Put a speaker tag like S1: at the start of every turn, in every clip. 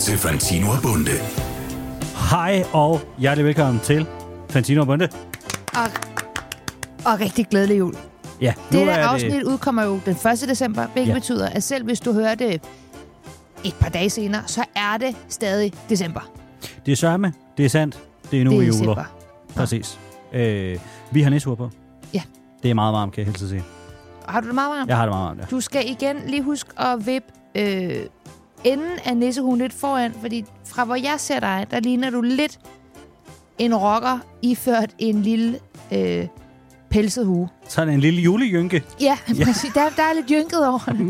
S1: til Fantino og Bunde.
S2: Hej og hjertelig velkommen til Fantino og Bunde.
S3: Og, og rigtig glædelig jul.
S2: Ja,
S3: Det der afsnit det... udkommer jo den 1. december, hvilket
S2: Ja.
S3: ja. betyder, at selv hvis du hører det et par dage senere, så er det stadig december.
S2: det, det er sørme, det er sandt, det er nu
S3: det
S2: i
S3: er
S2: juler.
S3: december.
S2: Præcis. Øh, vi har nisseure på.
S3: Ja.
S2: Det er meget varmt, kan jeg helst sige.
S3: Har du det meget varmt?
S2: Jeg har det meget varmt, ja.
S3: Du skal igen lige huske at vippe øh, enden af nissehuen lidt foran, fordi fra hvor jeg ser dig, der ligner du lidt en rocker iført en lille øh, pelset hue.
S2: Så er der en lille julejynke.
S3: Ja, ja. præcis. Der, der er lidt jynket over det.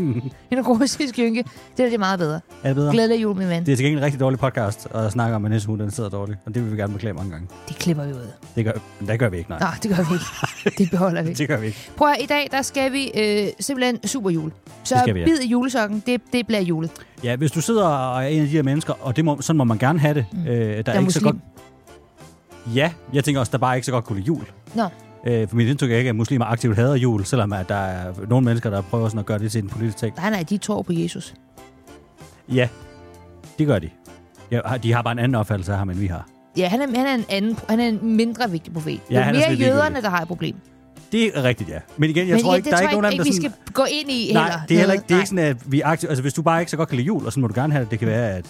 S3: en russisk jynke. Det er det meget bedre.
S2: Er det bedre?
S3: Glædelig jul, min ven.
S2: Det er til gengæld en rigtig dårlig podcast at snakke om, at næste den sidder dårligt. Og det vil vi gerne beklage mange gange.
S3: Det klipper vi ud.
S2: Det gør, det gør vi ikke, nej.
S3: Nå, det gør vi ikke. Det beholder vi.
S2: Det gør vi ikke.
S3: Prøv at, høre, i dag, der skal vi øh, simpelthen superjul. Så
S2: Det skal vi, ja.
S3: bid i julesokken, det, det bliver julet.
S2: Ja, hvis du sidder og er en af de her mennesker, og det må, sådan må man gerne have det. Mm. Øh, der er,
S3: Jeg er
S2: ikke så
S3: muslim.
S2: godt... Ja, jeg tænker også, der bare ikke så godt kunne lide jul.
S3: Nå,
S2: Øh, for mit indtryk er ikke, at muslimer aktivt hader jul, selvom at der er nogle mennesker, der prøver sådan at gøre det til en politisk ting.
S3: nej, nej, de tror på Jesus.
S2: Ja, det gør de. Ja, har- de har bare en anden opfattelse af ham, end vi har.
S3: Ja, han er, han er, en, anden, han er en mindre vigtig profet. det er
S2: han er sådan
S3: mere
S2: lidt
S3: jøderne,
S2: ligegyldig.
S3: der har et problem.
S2: Det er rigtigt, ja. Men igen, jeg Men tror ikke,
S3: det
S2: der er
S3: tror
S2: ikke nogen af dem,
S3: jeg ikke,
S2: der
S3: vi
S2: sådan...
S3: skal gå ind i heller.
S2: Nej, det er heller ikke, det er
S3: Nej.
S2: ikke sådan, at vi er aktive. Altså, hvis du bare ikke så godt kan lide jul, og sådan må du gerne have det, det kan være, at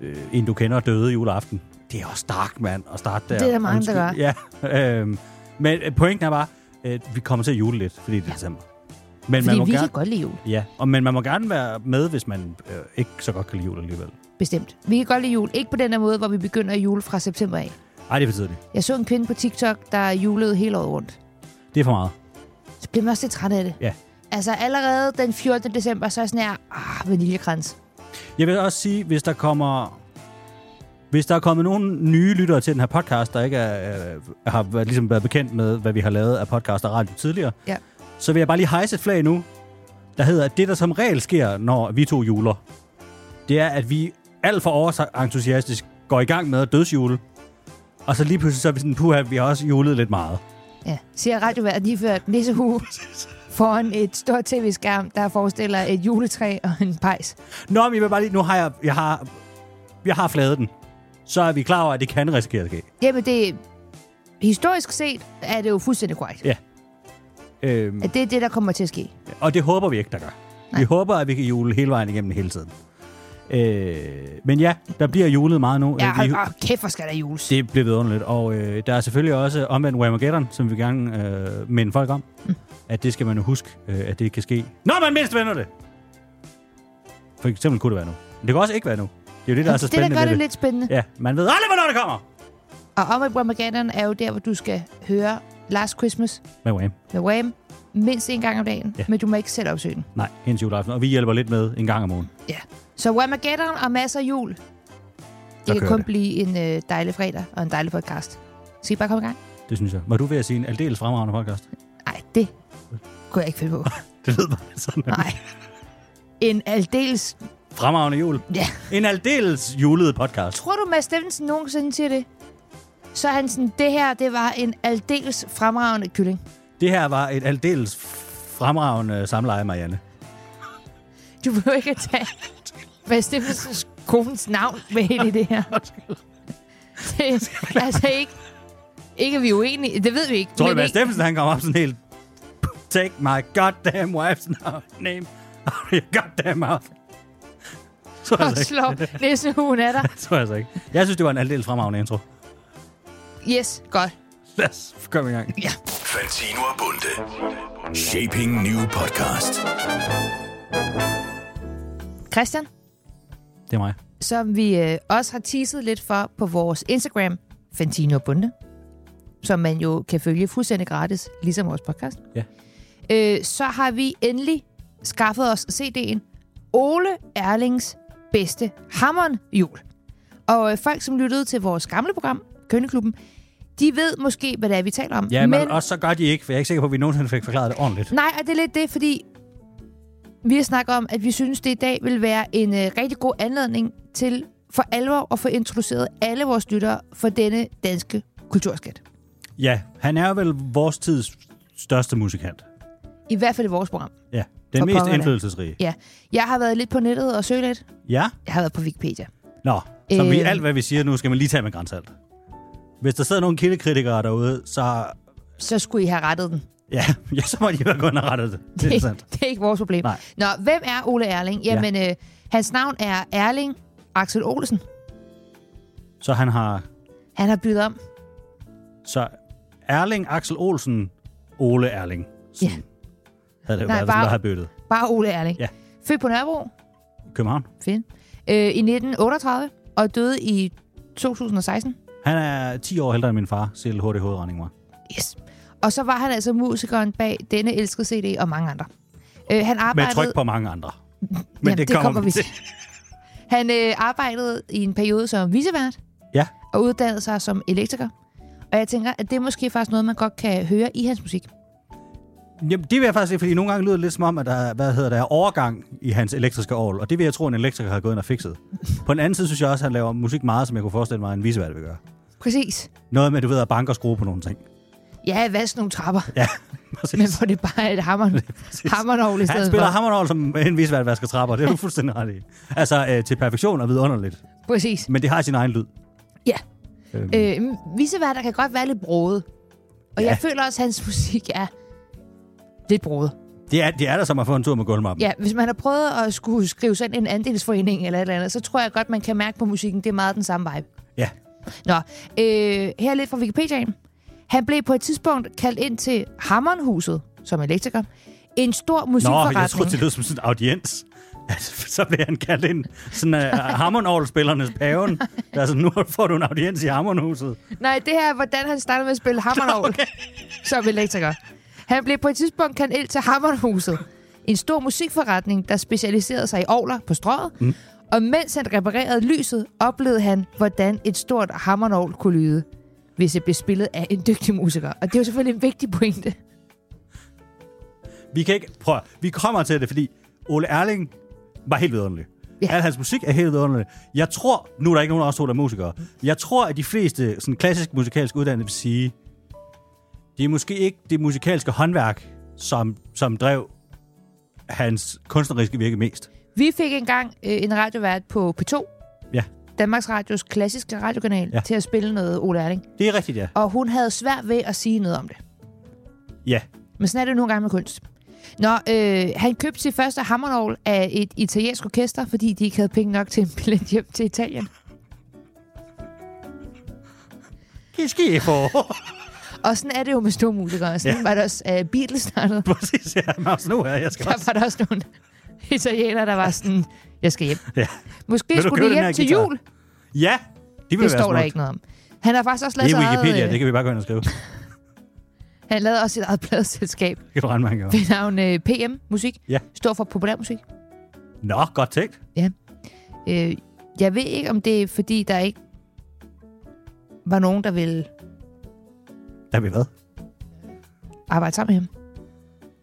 S2: øh, en, du kender, døde juleaften. Det er også stark, mand, at starte der.
S3: Det er der mange, der
S2: Undskyld. Ja, øh, men øh, pointen er bare, at vi kommer til at jule lidt, fordi det er december. Men
S3: Fordi
S2: man må
S3: vi
S2: gerne,
S3: kan godt lide jul,
S2: ja, og, men man må gerne være med, hvis man øh, ikke så godt kan lide jul alligevel.
S3: bestemt. Vi kan godt lide jul. Ikke på den der måde, hvor vi begynder at jule fra september af.
S2: Ej, det er for tidligt.
S3: Jeg så en kvinde på TikTok, der julede hele året rundt.
S2: Det er for meget.
S3: Så bliver man også lidt træt af det.
S2: Ja.
S3: Altså allerede den 14. december, så er jeg sådan her, ah, vaniljekrans.
S2: Jeg vil også sige, hvis der kommer... Hvis der er kommet nogle nye lyttere til den her podcast, der ikke er, øh, har været, ligesom været bekendt med, hvad vi har lavet af podcast og radio tidligere,
S3: Ja.
S2: så vil jeg bare lige hejse et flag nu, der hedder, at det, der som regel sker, når vi to juler, det er, at vi alt for overentusiastisk går i gang med at dødsjule, og så lige pludselig så er vi sådan, puha, vi har også julet lidt meget.
S3: Ja, siger radioværet lige før et nissehue foran et stort tv-skærm, der forestiller et juletræ og en pejs.
S2: Nå, men jeg vil bare lige, nu har jeg, jeg har, jeg har fladet den. Så er vi klar over, at det kan risikere at ske.
S3: Jamen det, historisk set er det jo fuldstændig korrekt.
S2: Ja. Øhm,
S3: At det er det, der kommer til at ske.
S2: Og det håber vi ikke, der gør. Nej.
S3: Nej.
S2: Vi håber, at vi kan jule hele vejen igennem hele tiden. Øh, men ja, der bliver julet meget nu.
S3: Ja,
S2: Øh, vi,
S3: hold, åh, kæft, hvor skal der jules.
S2: det bliver vidunderligt. Og øh, der er selvfølgelig også omvendt Whamageddon, som vi gerne øh, minde folk om. Mm. At det skal man jo huske, øh, at det kan ske. Når man mindst vender det! For eksempel kunne det være nu. Men det kan også ikke være nu. Det er jo det, der er så
S3: det, der
S2: spændende
S3: gør
S2: ved
S3: det lidt spændende.
S2: Ja, man ved aldrig, hvornår det kommer!
S3: Og om at Whamageddon er jo der, hvor du skal høre Last Christmas
S2: Med Wham.
S3: med Wham mindst en gang om dagen,
S2: Ja.
S3: men du må ikke selv opsøge den.
S2: Nej, hendes juleaften. Og vi hjælper lidt med en gang om ugen.
S3: Ja. Så Whamageddon og masser af jul.
S2: Så
S3: Det kan
S2: kører det.
S3: kun det. blive en øh, dejlig fredag og en dejlig podcast. Skal I bare komme i gang?
S2: Det synes jeg. Var du ved at sige en aldeles fremragende podcast?
S3: Nej, det kunne jeg ikke finde på.
S2: Det lød bare sådan.
S3: Nej. En aldeles...
S2: Fremragende jul.
S3: Ja.
S2: En aldeles julet podcast.
S3: Tror du, Mads Steffensen nogensinde siger det? Så er han sådan, det her, det var en aldeles fremragende kylling.
S2: Det her var et aldeles fremragende samleje, Marianne.
S3: Du behøver ikke at tage Mads Steffensens kones navn med ind i det her. Det, er altså ikke... Ikke er vi uenige. Det ved vi ikke.
S2: Tror du,
S3: men
S2: Mads
S3: ikke-
S2: Steffensen, han kom op sådan helt... Take my goddamn wife's name out of your goddamn mouth. Tror jeg
S3: og
S2: altså ikke.
S3: slår næsehugen af dig.
S2: Tror jeg altså ikke. Jeg synes, det var en aldeles fremragende intro.
S3: Yes, godt.
S2: Lad os komme i gang.
S3: Ja.
S1: Fantino og Bunde. Shaping New Podcast.
S3: Christian,
S2: Det er mig.
S3: som vi øh, også har teaset lidt for på vores Instagram, Fantino Bunde, som man jo kan følge fuldstændig gratis, ligesom vores podcast.
S2: Ja.
S3: Øh, så har vi endelig skaffet os CD'en Ole Erlings bedste hammeren jul. Og øh, folk, som lyttede til vores gamle program, Køndeklubben, de ved måske, hvad det er, vi taler om.
S2: Ja, men, men også så gør de ikke, for jeg er ikke sikker på, at vi nogensinde fik forklaret det ordentligt.
S3: Nej, og det er lidt det, fordi vi har snakket om, at vi synes, det i dag vil være en øh, rigtig god anledning til for alvor at få introduceret alle vores lyttere for denne danske kulturskat.
S2: Ja, han er vel vores tids største musikant.
S3: I hvert fald i vores program.
S2: Ja, den
S3: For
S2: mest
S3: pokker da.
S2: indflydelsesrige.
S3: Ja. Jeg har været lidt på nettet og søgt lidt.
S2: Ja,
S3: Jeg har været på Wikipedia.
S2: Nå, som vi
S3: Øhm.
S2: alt, hvad vi siger nu, skal man lige tage med grænsalt. Hvis der sidder nogle kildekritikere derude, så...
S3: Så skulle I have rettet den.
S2: Ja, ja så må de være gået og rettet det. Det er sandt.
S3: det er ikke vores problem.
S2: Nej.
S3: Nå, hvem er Ole Erling? Jamen, ja. øh, hans navn er Erling Axel Olsen.
S2: Så han har...
S3: Han har byttet om.
S2: Så Erling Axel Olsen, Ole Erling. Sådan
S3: Ja.
S2: Havde det jo
S3: Nej,
S2: været, hvis
S3: bare-
S2: man havde byttet.
S3: Bare Ole Erling.
S2: Ja.
S3: Født på Nørrebro.
S2: København.
S3: Fint. Øh, I 1938 og døde i 2016.
S2: Han er 10 år ældre end min far, selv hurtig hovedregning var.
S3: Yes. Og så var han altså musikeren bag denne elskede CD og mange andre. Øh, han
S2: Med
S3: arbejdede...
S2: tryk på mange andre. Men
S3: Jamen, det kommer vi til. Han øh, arbejdede i en periode som visevært
S2: Ja.
S3: og uddannede sig som elektriker. Og jeg tænker, at det er måske faktisk noget, man godt kan høre i hans musik.
S2: Jamen, det vil jeg faktisk ikke, fordi nogle gange lyder det lidt som om, at der, er- hvad hedder der er overgang i hans elektriske ovl, og det vil jeg tro, en elektriker har gået ind og fikset. På den anden side synes jeg også, at han laver musik meget, som jeg kunne forestille mig, at en visevært vil gøre.
S3: Præcis.
S2: Noget med, du ved, at banke og skrue på nogle ting.
S3: Ja, vask nogle trapper,
S2: Ja,
S3: men
S2: præcis.
S3: hvor det bare er et hammer, hammernovl i
S2: Han
S3: stedet
S2: spiller
S3: for.
S2: hammernål som en visevært vasker trapper, det er du fuldstændig ret i. Altså, øh, til perfektion og vidunderligt.
S3: Præcis.
S2: Men det har sin egen lyd.
S3: Ja.
S2: Øhm,
S3: Øh, viseværter kan godt være lidt brode. Og ja.
S2: Ja.
S3: jeg føler også, at hans musik er lidt brode.
S2: det, er, det er der som at få en tur med gulvmappen.
S3: Ja, hvis man har prøvet at skulle skrive sådan en andelsforening eller et eller andet, så tror jeg godt, man kan mærke på musikken, det er meget den samme vibe.
S2: ja.
S3: Nå, øh, her er lidt fra Wikipediaen. Han blev på et tidspunkt kaldt ind til Hammernhuset som elektriker. En stor
S2: Nå,
S3: musikforretning.
S2: jeg tror, det lød som sådan en audiens. Altså, så bliver han kaldt ind. Sådan uh, Hammernål-spillernes paven. Der er sådan, nu får du en audiens i Hammernhuset.
S3: Nej, det her er, hvordan han startede med at spille hammernål okay. som elektriker. Han blev på et tidspunkt kendt ind til Hammernhuset. En stor musikforretning, der specialiserede sig i ovler på strøget. Mm. Og mens han reparerede lyset, oplevede han, hvordan et stort hammernål kunne lyde, hvis det blev spillet af en dygtig musiker. Og det er jo selvfølgelig en vigtig pointe.
S2: Vi kan ikke... Prøv, at- vi kommer til det, fordi Ole Erling var helt vidunderlig.
S3: Ja.
S2: Ja. Al hans musik er helt vidunderlig. Jeg tror... Nu er der ikke nogen af os to, der er musikere. Jeg tror, at de fleste sådan klassisk musikalsk uddannede vil sige, det er måske ikke det musikalske håndværk, som, som drev hans kunstneriske virke mest.
S3: Vi fik engang øh, en radiovært på P2,
S2: Ja,
S3: Danmarks Radios klassiske radiokanal, ja.
S2: Ja.
S3: til at spille noget Ole Erling.
S2: det er rigtigt, ja.
S3: Og hun havde svært ved at sige noget om det.
S2: Ja,
S3: Men sådan er det nogle gange med kunst. Nå, øh, han købte sit første hammernål af et italiensk orkester, fordi de ikke havde penge nok til en billet hjem til Italien.
S2: det sker for.
S3: Og sådan er det jo med store musikere. Sådan ja.
S2: Ja.
S3: var det også øh, Beatles startede.
S2: Præcis, ja. Mads, nu er jeg skal
S3: Der
S2: også.
S3: var der også nogle italienere, der var sådan, jeg skal hjem.
S2: Ja. Vil
S3: Måske
S2: du
S3: skulle
S2: købe
S3: de
S2: den her
S3: hjem til
S2: guitar?
S3: jul.
S2: ja, det vil
S3: Det
S2: være
S3: står der
S2: smukt.
S3: ikke øh? noget om. Han har faktisk også lavet,
S2: Det er
S3: sit
S2: Wikipedia,
S3: eget,
S2: det kan vi bare gå ind og skrive. Det
S3: han lavede også sit eget pladeselskab
S2: kan du rende, man kan gøre.
S3: ved navn øh, PM Musik.
S2: Ja.
S3: Står for populærmusik.
S2: Nå, godt tænkt.
S3: Øh, jeg ved ikke, om det er, fordi der ikke var nogen, der ville
S2: Der vi hvad?
S3: arbejde sammen med ham.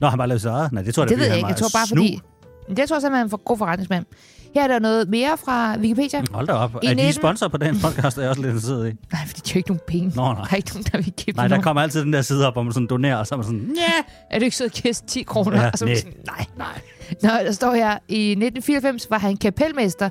S2: Nå, han bare lavede sig eget. Nej, det tror jeg,
S3: Det
S2: fordi
S3: ved jeg
S2: han
S3: ikke. Jeg
S2: var
S3: tror bare,
S2: snu.
S3: fordi... Men Det tror jeg simpelthen, han er en for god forretningsmand. Her er der noget mere fra Wikipedia.
S2: Hold da op. Er
S3: 19
S2: de sponsor på den podcast, er jeg også lidt interesseret i?
S3: Nej, fordi de har jo ikke nogen penge.
S2: Nå, nej.
S3: Der er ikke nogen, der vil give
S2: Nej,
S3: dem
S2: der
S3: nogen.
S2: kommer altid den der side op, hvor man sådan donerer, og så er man sådan... "Mm,
S3: Ja, er du ikke sød kæst 10 kroner?
S2: Ja,
S3: og så er man
S2: nej.
S3: sådan, nej, nej. Nå, der står her, i 1994 var han kapelmester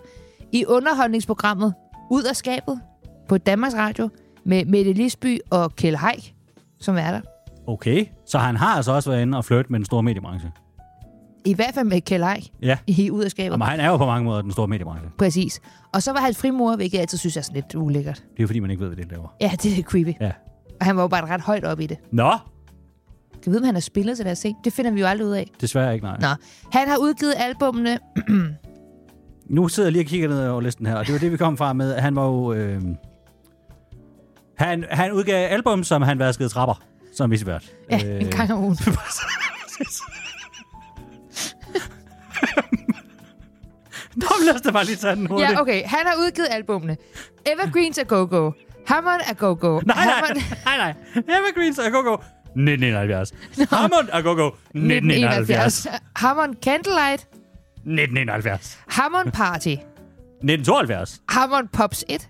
S3: i underholdningsprogrammet Ud af skabet på Danmarks Radio med Mette Lisby og Kjell Haik, som er der.
S2: Okay, så han har altså også været inde og flirte med den store mediebranche.
S3: I hvert fald med Kjell Haik
S2: Ja,
S3: i Ud af skabet.
S2: Jamen, han er jo på mange måder den store mediebranche.
S3: Præcis. Og så var han frimor, hvilket jeg altid synes er sådan lidt ulækkert.
S2: Det er jo fordi, man ikke ved, hvad det laver.
S3: Ja, det er creepy.
S2: Ja.
S3: Og han var jo bare ret højt op i det.
S2: Nå,
S3: Kan vi vide, om han har spillet til deres ting? Det finder vi jo aldrig ud af.
S2: desværre ikke, nej.
S3: Nå, han har udgivet albumene.
S2: Nu sidder jeg lige og kigger ned over listen her, og det var det, vi kom fra med. Han var jo... Øh, han, han udgav album, som han vaskede trapper, som visevært.
S3: Ja, øh... en gang om ugen.
S2: Nå, men lad os da bare lige tage den hurtigt.
S3: ja, okay. Han har udgivet albumene. Evergreens er go-go. Hammond er go-go.
S2: Nej, nej,
S3: Hammond-
S2: nej, nej. Evergreens og Go-Go. 1971. Hammond og Go-Go. 1971.
S3: 1971. Hammond Candlelight.
S2: 1971.
S3: Hammond Party.
S2: 1972.
S3: Hammond Pops 1.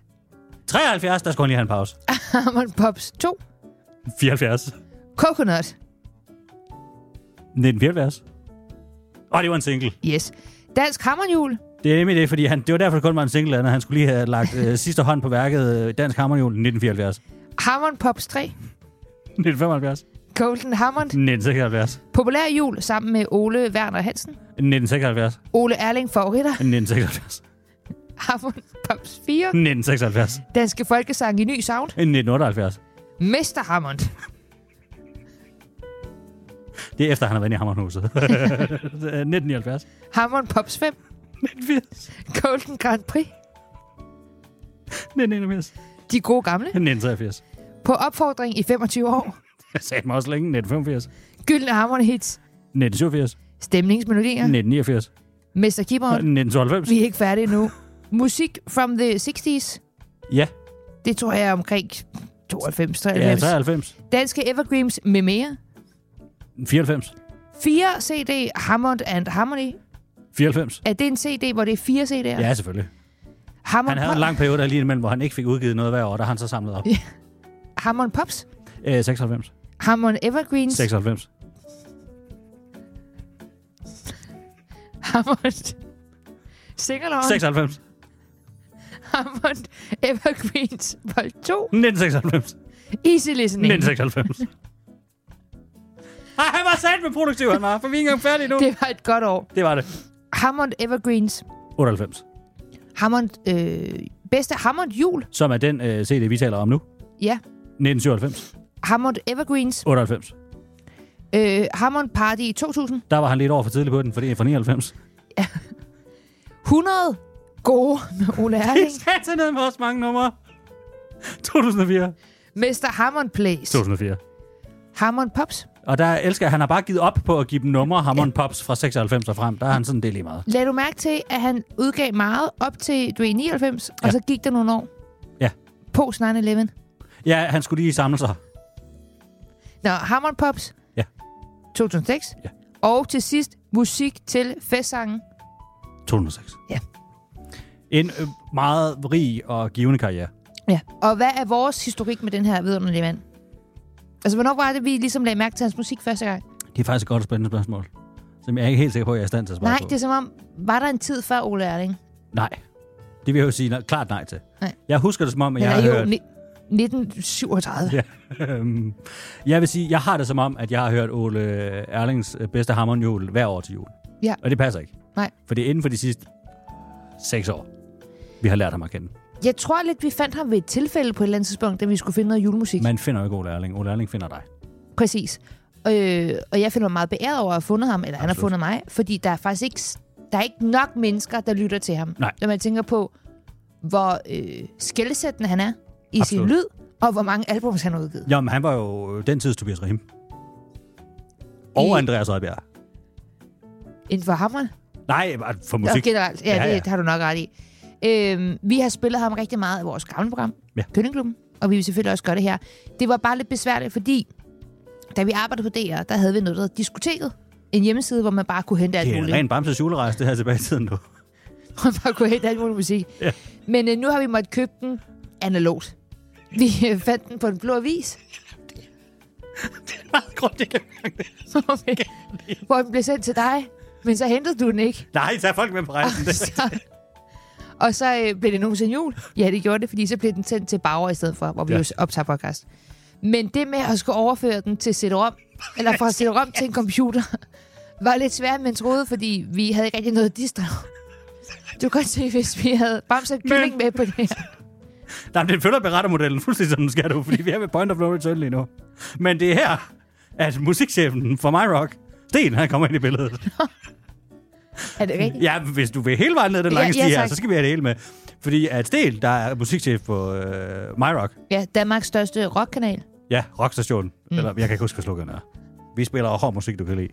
S2: 73, der skulle han lige have en pause.
S3: Hammond Pops 2.
S2: 74.
S3: Coconut.
S2: 1974. Og det var en single.
S3: Yes. Dansk Hammerhjul.
S2: Det er nemlig det, fordi han, det var derfor, det kun var en single, og han skulle lige have lagt øh, sidste hånd på værket øh, Dansk Hammerhjul 1974.
S3: Hammond Pops 3,
S2: 1975.
S3: Golden Hammond,
S2: 1976.
S3: Populær Jul sammen med Ole Werner Hansen,
S2: 1976.
S3: Ole Erling Favoritter,
S2: 1976.
S3: Hammond Pops 4,
S2: 1976.
S3: Danske Folkesang i Ny Sound,
S2: 1978.
S3: Mester Hammond,
S2: Det er efter, han har været i Hammerhuset. Øh, 1979.
S3: Hammond Pops 5,
S2: 1980.
S3: Golden Grand Prix,
S2: 1981.
S3: De Gode Gamle,
S2: 1983.
S3: På opfordring i 25 år,
S2: Jeg sagde mig også længe. 1985.
S3: Gyldne Hammond Hits,
S2: 1987.
S3: Stemningsmelodier,
S2: 1989.
S3: Mester Kimmeren,
S2: 1992.
S3: vi er ikke færdige nu, Musik from the 60s,
S2: Ja,
S3: det tror jeg er omkring 92,
S2: ja
S3: 93.
S2: 93.
S3: Danske Evergreens med mere,
S2: 94.
S3: 4 CD Hammond and Harmony.
S2: 94.
S3: Er det en CD, hvor det er fire CD'er?
S2: Ja, selvfølgelig. Han
S3: Hammond,
S2: havde en
S3: Pop-
S2: lang periode der lige imellem, hvor han ikke fik udgivet noget hver år, der har han så samlet op.
S3: Hammond Pops,
S2: Øh, 96.
S3: Hammond Evergreens,
S2: 96.
S3: Hammond Singalong,
S2: 96.
S3: Hammond Evergreens Vol. 2,
S2: 1996.
S3: Easy Listening.
S2: 1996. Ej, han var sat med produktiv, han var. For vi er ikke engang færdige nu.
S3: Det var et godt år.
S2: Det var det.
S3: Hammond Evergreens,
S2: 98.
S3: Hammond, øh, bedste Hammond Jul,
S2: Som er den øh, CD, vi taler om nu.
S3: ja,
S2: 1997.
S3: Hammond Evergreens,
S2: 98.
S3: øh, Hammond Party i 2000,
S2: Der var han lidt over for tidligt på den, for det er fra 99.
S3: 100 gode med Ole Erling,
S2: Sat sig ned med også mange numre. 2004.
S3: Mester Hammond Place,
S2: 2004.
S3: Hammond Pops,
S2: Og der elsker jeg, han har bare givet op på at give dem numre, Hammond Pops fra 96 og frem. Der er han sådan, det er lige meget.
S3: Lad du mærke til, at han udgav meget op til, du er i 99, ja. og så gik der nogle år?
S2: Ja.
S3: Post 9-11.
S2: Ja, han skulle lige samle sig.
S3: Nå, Hammond Pops.
S2: Ja.
S3: 2006.
S2: Ja.
S3: Og til sidst, musik til festsangen.
S2: 206.
S3: Ja.
S2: En øh, meget rig og givende karriere.
S3: Ja. Og hvad er vores historik med den her vidunderlige mand? Altså, hvornår var det, vi ligesom lagde mærke til hans musik første gang?
S2: Det er faktisk et godt og spændende spørgsmål, som jeg er ikke helt sikker på, at jeg er i stand til at svare
S3: Nej,
S2: på.
S3: det er som om, var der en tid før Ole Erling?
S2: Nej, det vil jeg jo sige nej, klart nej til.
S3: Nej.
S2: Jeg husker det som om, at
S3: Den
S2: jeg
S3: er
S2: har
S3: jo
S2: hørt...
S3: ni- 1937. Ja.
S2: Øhm, jeg vil sige, jeg har det som om, at jeg har hørt Ole Erlings øh, bedste hammerhjul hver år til jul.
S3: Ja.
S2: Og det passer ikke.
S3: Nej.
S2: For det er inden for de sidste seks år, vi har lært ham at kende.
S3: Jeg tror lidt, vi fandt ham ved et tilfælde på et eller andet tidspunkt, da vi skulle finde noget julemusik.
S2: Man finder jo ikke Ole Erling. Ole Erling finder dig.
S3: Præcis. Øh, og jeg føler mig meget beæret over at have fundet ham, eller Absolut. han har
S2: Absolut.
S3: fundet mig, fordi der er faktisk ikke, der er ikke nok mennesker, der lytter til ham.
S2: Nej.
S3: Når man tænker på, hvor øh, skældsættende han er i Absolut. sin
S2: Absolut.
S3: lyd, og hvor mange albums han har udgivet.
S2: Jamen, han var jo øh, den tids Tobias Rahim. Og
S3: I-
S2: Andreas Rødbjerg.
S3: Inden for hammeren.
S2: Nej, bare for
S3: Og
S2: musik.
S3: generelt. Ja,
S2: Ja,
S3: ja,
S2: ja.
S3: det har du nok ret i. Øh, vi har spillet ham rigtig meget i vores gamle program,
S2: Ja.
S3: Kønneklubben, og vi vil selvfølgelig også gøre det her. Det var bare lidt besværligt, fordi da vi arbejdede på DR, der havde vi noget, der hed Diskoteket. En hjemmeside, hvor man bare kunne hente alt
S2: Det er
S3: muligt.
S2: en ren Bamses julerejse, det her tilbage i tiden nu.
S3: og bare kunne hente alt muligt musik. Ja. Men øh, nu har vi måttet købe den analogt. Vi øh, fandt den på en blå avis,
S2: Meget grundigt.
S3: hvor den blev sendt til dig, men så hentede du den ikke.
S2: Nej, tag folk med på rejsen. Det-
S3: Så, og så øh, blev det nogensinde jul. Ja, det gjorde det, fordi så blev den sendt til Bauer i stedet for, hvor vi ja.
S2: Ja.
S3: jo optager podcast. Men det med at skulle overføre den til CD-ROM, eller fra CD-ROM til en computer, var lidt svært, men troede, fordi vi havde ikke rigtig noget distre. Du kan godt se, hvis vi havde Bamse og Kylling med på det her.
S2: Nej, men den følger berettermodellen fuldstændig, som den skal du, fordi vi er ved Point of No Return lige nu. Men det er her, at musikchefen for My Rock, Sten, han kommer ind i billedet.
S3: Er det rigtigt?
S2: Ja, hvis du vil hele vejen ned den lange
S3: Ja,
S2: ja,
S3: ja,
S2: stige her,
S3: tak.
S2: så skal vi have det hele med. Fordi at Sten, der er musikchef på øh, My Rock,
S3: Ja, Danmarks største rockkanal.
S2: ja, rockstationen, mm. eller jeg kan ikke huske, hvad slogan er. Vi spiller hård musik, du kan lide.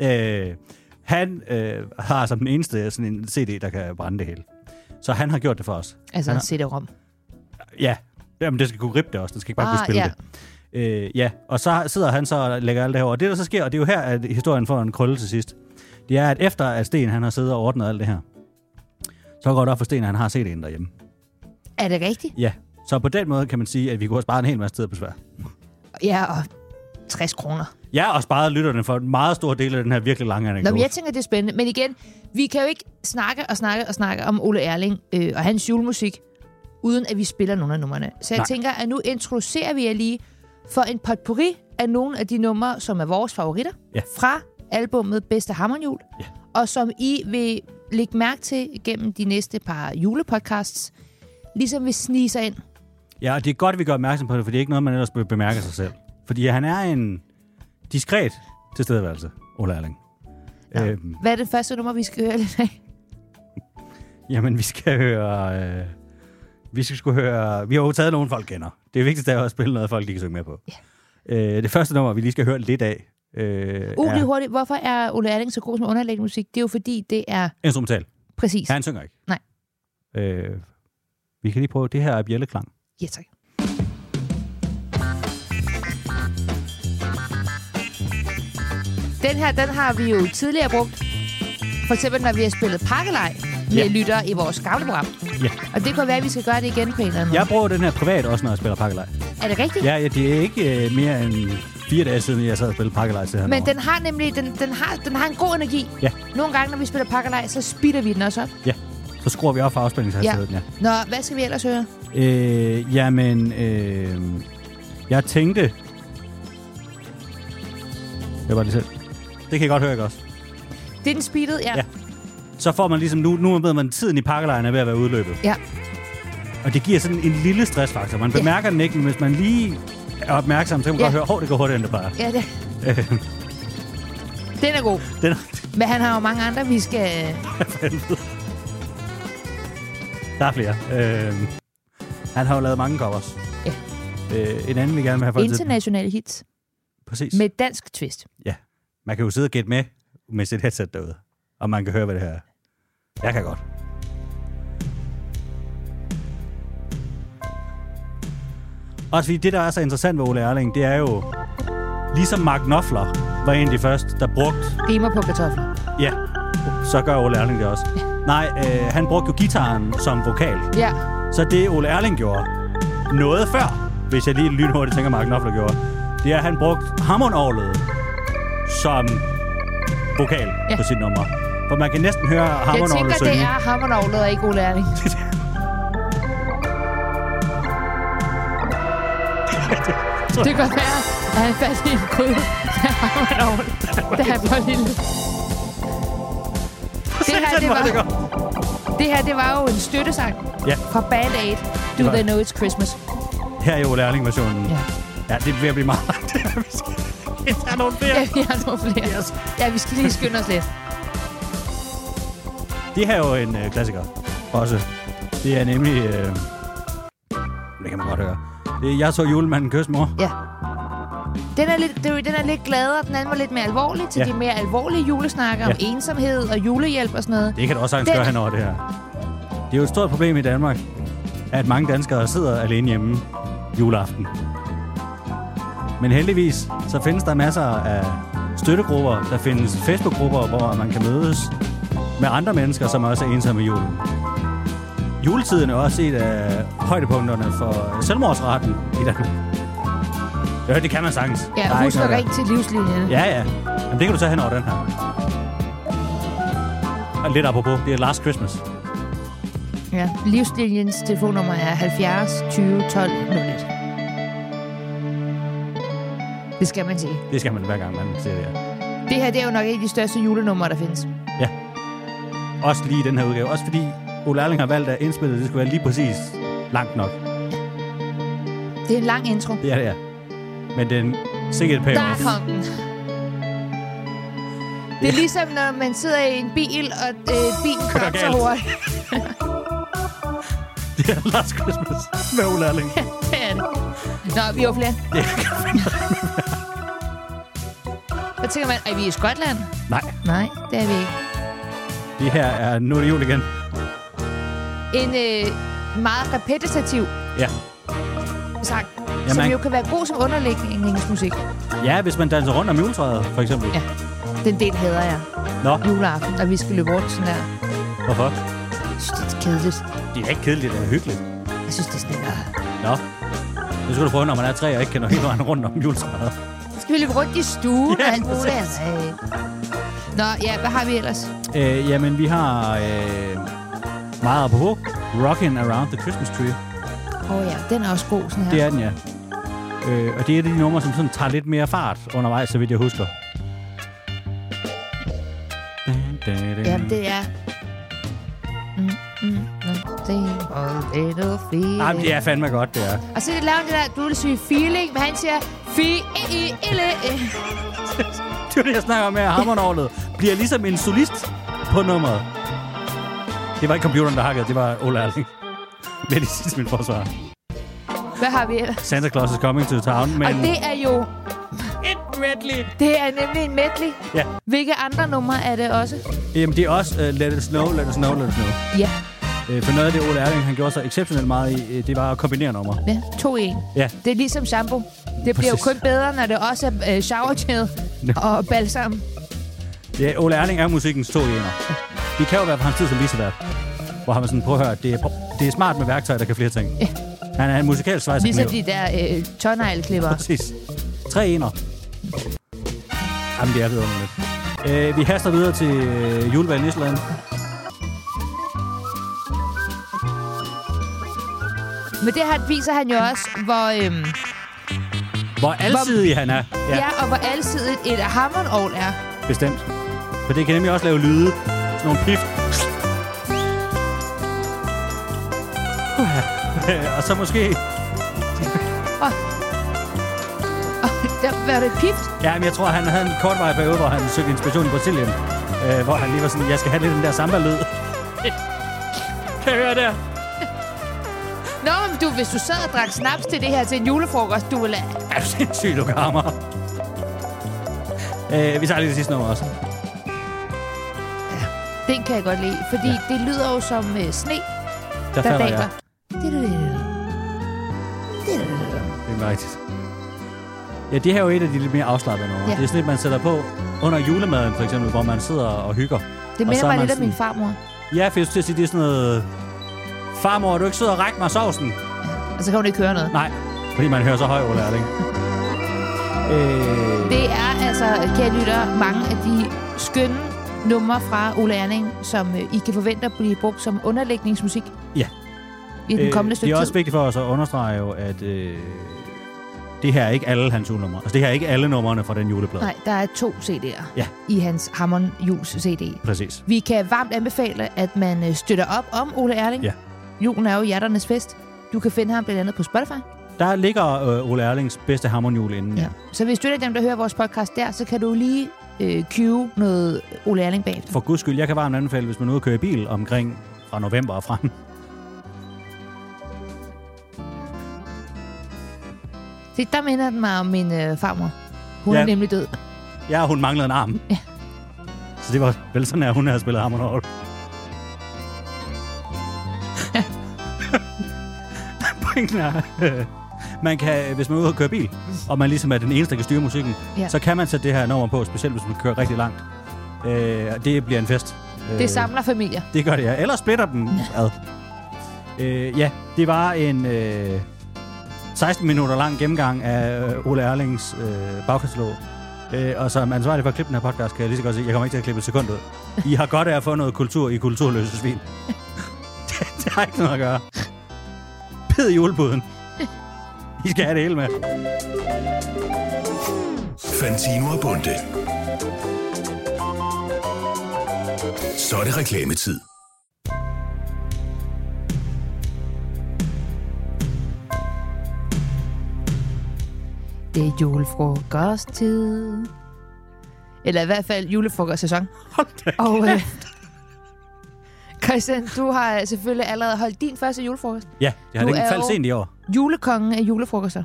S2: Øh, han øh, har som den eneste sådan en CD, der kan brænde det hele. Så han har gjort det for os.
S3: Altså
S2: Han
S3: en
S2: har-
S3: CD-rom.
S2: Ja, Jamen, det skal kunne rippe det også. Den skal ikke bare
S3: Ah,
S2: ah, kunne spille
S3: ja.
S2: ja. det. Øh, ja, og så sidder han så og lægger alt det her over. Og det, der så sker, og det er jo her, at historien får en krølle til sidst, det er, at efter at Sten han har siddet og ordnet alt det her, så går det op for Sten, at han har set en derhjemme.
S3: Er det rigtigt?
S2: Ja, så på den måde kan man sige, at vi kunne have sparet en hel masse tid og besvær.
S3: Ja, og 60 kroner.
S2: Ja, og sparede lytterne for en meget stor del af den her virkelig lange
S3: Nå,
S2: anekdote.
S3: men jeg tænker, det er spændende. Men igen, vi kan jo ikke snakke og snakke og snakke om Ole Erling øh, og hans julemusik, uden at vi spiller nogle af numrene. Så jeg
S2: Nej.
S3: Nej. tænker, at nu introducerer vi jer lige for en potpourri af nogle af de numre, som er vores favoritter
S2: Ja.
S3: fra albummet Bedste Hammerjul, ja. og som I vil lægge mærke til gennem de næste par julepodcasts, ligesom vi sniser ind.
S2: Ja, og det er godt, at vi gør opmærksom på det, for det er ikke noget, man ellers be- bemærker sig selv. Fordi han er en diskret tilstedeværelse, Ole Erling. Ja. Øhm,
S3: Hvad er det første nummer, vi skal høre lidt af?
S2: jamen, vi skal høre... Øh, vi skal skulle høre... Vi har jo taget nogen, folk kender. Det vigtigste er jo at spille noget, folk lige kan synge med på. Ja. Øh, det første nummer, vi lige skal høre lidt af, øh,
S3: Uh, lige
S2: er
S3: hurtigt. Hvorfor er Ole Erling så god som underlæggende musik? Det er jo fordi, det er
S2: instrumental.
S3: præcis.
S2: Ja, han synger ikke.
S3: Nej.
S2: Øh, vi kan lige prøve... Det her er bjælleklang.
S3: Ja, tak. Den her, den har vi jo tidligere brugt. For eksempel, når vi har spillet pakkelej med
S2: Ja.
S3: yeah. lyttere i vores gamle program.
S2: Ja.
S3: Og det kunne være, at vi skal gøre det igen på en eller anden
S2: Jeg
S3: måde.
S2: bruger den her privat også, når jeg spiller pakkelej.
S3: Er det rigtigt?
S2: Ja, ja, det er ikke øh, mere end fire dage siden, jeg sad og spillede pakkelej til her
S3: Men
S2: nummer.
S3: den har nemlig den, den, har, den har en god energi.
S2: Ja.
S3: Nogle gange, når vi spiller pakkelej, så speeder vi den også op.
S2: Ja, så skruer vi op for afspændingshastigheden, ja.
S3: Nå, hvad skal vi ellers høre?
S2: ja. Øh, jamen, øh, jeg tænkte... Det var det selv. Det kan I godt høre, ikke også?
S3: Det er den speedede, ja.
S2: Ja. Så får man ligesom, nu, nu ved man, at tiden i pakkelejen er ved at være udløbet.
S3: ja.
S2: Og det giver sådan en lille stressfaktor. Man bemærker ja. den ikke, men hvis man lige er opmærksom, så kan man
S3: Ja.
S2: ja. godt høre, hov, det går hurtigere, end det plejer.
S3: ja det. den er god.
S2: Den,
S3: Men han har jo mange andre, vi skal...
S2: der er flere. Øh, han har jo lavet mange covers.
S3: Ja.
S2: Øh, en anden, vi gerne vil have folk til.
S3: internationale hits
S2: Præcis.
S3: med dansk twist.
S2: Ja. Man kan jo sidde og gætte med med sit headset derude. Og man kan høre, hvad det her er. Jeg kan godt. Også fordi det, der er så interessant ved Ole Erling, det er jo... Ligesom Mark Knopfler var en af de første, der brugte...
S3: Rimer på kartofler.
S2: Ja, så gør Ole Erling det også. Nej, øh, han brugte jo gitaren som vokal.
S3: Ja.
S2: Så det Ole Erling gjorde noget før, hvis jeg lige lynhurtigt tænker, Mark Knopfler gjorde, det er, at han brugte harmonorglet som vokal
S3: Ja.
S2: ja. på sit nummer. For man kan næsten høre
S3: Jeg tænker,
S2: harmonorglet synge.
S3: det er hammernavlet og ikke Ole Erling. Det kan godt være, at han fandt i en gryde med hammernavl, da han var lille. Det her, det var, det her, det var jo en støttesang
S2: Ja,
S3: fra Band Aid. Do
S2: var-
S3: They Know It's Christmas?
S2: her er Ole Erling-versionen.
S3: Ja.
S2: Ja. ja, det bliver blive meget langt. det her, vi skal. Der er nogle flere.
S3: Ja, vi har nogle flere.
S2: Yes.
S3: Ja, vi skal lige skynde os lidt.
S2: Det her er jo en øh, klassiker også. Det er nemlig... Øh, det kan man godt høre. Det er, jeg så julemanden kysse mor.
S3: Ja. Den er, lidt, det er jo- den er lidt gladere, den anden var lidt mere alvorlig til ja.
S2: Ja.
S3: de mere alvorlige julesnakker ja. om
S2: Ja.
S3: ensomhed og julehjælp og sådan noget.
S2: Det kan du også sagtens
S3: Den-
S2: gøre henover det her. Det er jo et stort problem i Danmark, at mange danskere sidder alene hjemme juleaften. Men heldigvis, så findes der masser af støttegrupper, der findes Facebook-grupper, hvor man kan mødes med andre mennesker, som også er ensomme i julen. Juletiden er også et af højdepunkterne for selvmordsraten i Danmark. Ja, det kan man sagtens. Der
S3: Ja,
S2: er
S3: husk
S2: ikke noget
S3: at
S2: der.
S3: ringe til livslinjen.
S2: Ja, ja. Jamen, det kan du tage hen over den her. Og lidt apropos, det er Last Christmas.
S3: ja. Livslinjens telefonnummer er 70 20 12 01. Det skal man sige.
S2: Det skal man hver gang, man ser det her.
S3: Det her det er jo nok et af de største julenumre, der findes.
S2: Også lige i den her udgave. Også fordi Ole Erling har valgt at indspille, det skulle være lige præcis langt nok.
S3: Det er en lang intro.
S2: Det er det, ja. Men den sikkert payoff.
S3: Der kom den. Det er ligesom, når man sidder i en bil, og øh, bilen kører så
S2: galt.
S3: hurtigt.
S2: Det er Last Christmas med Ole Erling.
S3: Det er det. Nå, vi var flere.
S2: Det
S3: Så tænker man, er vi i Skotland?
S2: Nej,
S3: Nej, det er vi ikke.
S2: det her er Nu er det jul igen.
S3: En øh, meget repetitiv
S2: Ja.
S3: sang, Jamen, som
S2: Jamen,
S3: jo kan være god som underlægningsmusik.
S2: Ja, hvis man danser rundt om juletræet, for eksempel.
S3: Ja. Den del hader jeg.
S2: Nå,
S3: Juleaften, og vi skal løbe rundt sådan der.
S2: hvorfor?
S3: Jeg synes, det er kedeligt.
S2: Det er da ikke kedeligt, det er hyggeligt.
S3: Jeg synes, det er sådan lidt... øh.
S2: Nå, det skulle du prøve, når man er tre og ikke kender hele vejen rundt om juletræet.
S3: skal vi løbe rundt i stuen
S2: Ja,
S3: og alt muligt.
S2: præcis.
S3: Ej. Nå, ja, hvad har vi ellers?
S2: Øh, jamen, vi har øh, meget apropos. Rockin' Around the Christmas Tree.
S3: Åh oh, ja, den er også god, sådan her.
S2: Det er den, ja. Øh, og det er et af de numre, som sådan tager lidt mere fart undervejs, så vidt jeg husker.
S3: Jamen, det er... Mm, mm, nothing but little feeling.
S2: Jamen, det er fandme godt, det er.
S3: Og så laver han det der, du vil sige feeling, men han siger feeling.
S2: Det er det, jeg snakker om med, at hammernålet bliver ligesom en solist på nummeret. Det var ikke computeren, der hakkede, det var Ola Erling. Med det sidste min forsvar.
S3: Hvad har vi ellers?
S2: Santa Claus is coming to town, men...
S3: Og det er jo,
S2: Et medley!
S3: det er nemlig en medley.
S2: Ja.
S3: Hvilke andre numre er det også?
S2: Jamen, det er også uh, Let It Snow, Let It Snow, Let It Snow.
S3: Ja,
S2: Uh, for noget af det, Ole Erling, han gjorde så exceptionelt meget i, uh, det var at kombinere numre.
S3: ja to i en.
S2: Ja,
S3: Det er ligesom shampoo. Det bliver jo
S2: Præcis.
S3: kun bedre, når det også er øh, shower gel og balsam.
S2: ja Ole Erling er musikkens to ener. Det kan jo være på hans tid som visevært. Hvor har man sådan, prøv at høre, det er, det er smart med værktøj, der kan flere ting. Han er en musikalsk svejser.
S3: Ligesom de der øh, tårneglklipper.
S2: Præcis. Tre ener. Jamen, det er vidunderligt. Øh, vi haster videre til øh, Julevand Island.
S3: Men det her viser han jo også, hvor, øhm,
S2: Hvor alsidig han er.
S3: ja. ja, og hvor alsidigt et hammond er.
S2: Bestemt. For det kan nemlig også lave lyde. Sådan nogle pift. og så måske...
S3: Der var det pift.
S2: Ja, men jeg tror, han havde en kortvarig periode, hvor han søgte inspiration i Brasilien. Øh, hvor han lige var sådan, jeg skal have lidt den der samba-lyd. kan jeg høre der?
S3: Nå, men du, hvis du sad og drak snaps til det her til en julefrokost, du ville...
S2: Er du sindssyg, du kammer? Øh, vi tager lige det sidste nummer også.
S3: Den kan jeg godt lide, fordi ja. det lyder jo som øh, sne,
S2: Der,
S3: der
S2: falder
S3: daler.
S2: jeg. Det er rigtigt. Ja, det her er jo et af de lidt mere afslappede numre.
S3: Ja.
S2: Ja. Det er sådan et, man sætter på under julemaden, for eksempel, hvor man sidder og hygger.
S3: Det
S2: Og så
S3: minder
S2: er
S3: mig
S2: man
S3: lidt af
S2: sådan-
S3: min farmor.
S2: Ja, for jeg skulle til at sige, det er sådan noget... Farmor, er du ikke sød og række mig sovsen?
S3: Og så kan hun ikke høre noget.
S2: Nej, fordi man hører så høj, Ole Erling. Øh,
S3: Det er altså, kære lytter, mange af de skønne numre fra Ole Erning, som øh, I kan forvente at blive brugt som underlægningsmusik
S2: ja.
S3: i den kommende
S2: øh, det
S3: stykke
S2: er også
S3: tid.
S2: vigtigt for os at understrege jo, at øh, det her er ikke alle hans julenumre. Altså, det her er ikke alle numrene fra den juleplade.
S3: Nej, der er to CD'er
S2: Ja.
S3: i hans Hammond Jules CD.
S2: Præcis.
S3: Vi kan varmt anbefale, at man øh, støtter op om Ole Erling.
S2: Ja.
S3: Julen er jo hjerternes fest. Du kan finde ham blandt andet på Spotify.
S2: Der ligger øh, Ole Erlings bedste harmonjul inden.
S3: Ja. Så hvis du er dem, der hører vores podcast der, så kan du lige øh, cue noget Ole Erling bagefter.
S2: For guds skyld, jeg kan varmt anbefale, hvis man er ude og køre i bil omkring fra november og frem.
S3: Se, der minder den mig om min øh, farmor. Hun ja.
S2: Ja.
S3: er nemlig død.
S2: Ja, hun manglede en arm. Ja. Så det var vel sådan, at hun havde spillet harmonjul. Pointen er, øh, man kan, hvis man er ude og køre bil, og man ligesom er den eneste, der kan styre musikken,
S3: Ja.
S2: ja. så kan man sætte det her nummer på, specielt hvis man kører rigtig langt. Øh, og det bliver en fest. Øh,
S3: Det samler familier.
S2: Det gør det, ja. Eller splitter den ad. Øh, ja, det var en øh, 16 minutter lang gennemgang af øh, Ole Erlings øh, bagkatalog. Øh, og som ansvarlig for at klippe den her podcast, kan jeg lige så godt sige, jeg kommer ikke til at klippe et sekund ud. I har godt af at få noget kultur i kulturløse svin. det, det har ikke noget at gøre. Pid i julebuden. I skal have det hele med.
S1: Fantino og Bunde. Så er det reklametid.
S3: Det er julefrokosttid. Eller i hvert fald julefrokostsæson.
S2: Hold da.
S3: Og øh, Christian, du har øh, selvfølgelig allerede holdt din første julefrokost.
S2: Ja, det har
S3: Du
S2: det ikke
S3: er
S2: faldt
S3: jo-
S2: sent i år.
S3: Julekongen af julefrokoster.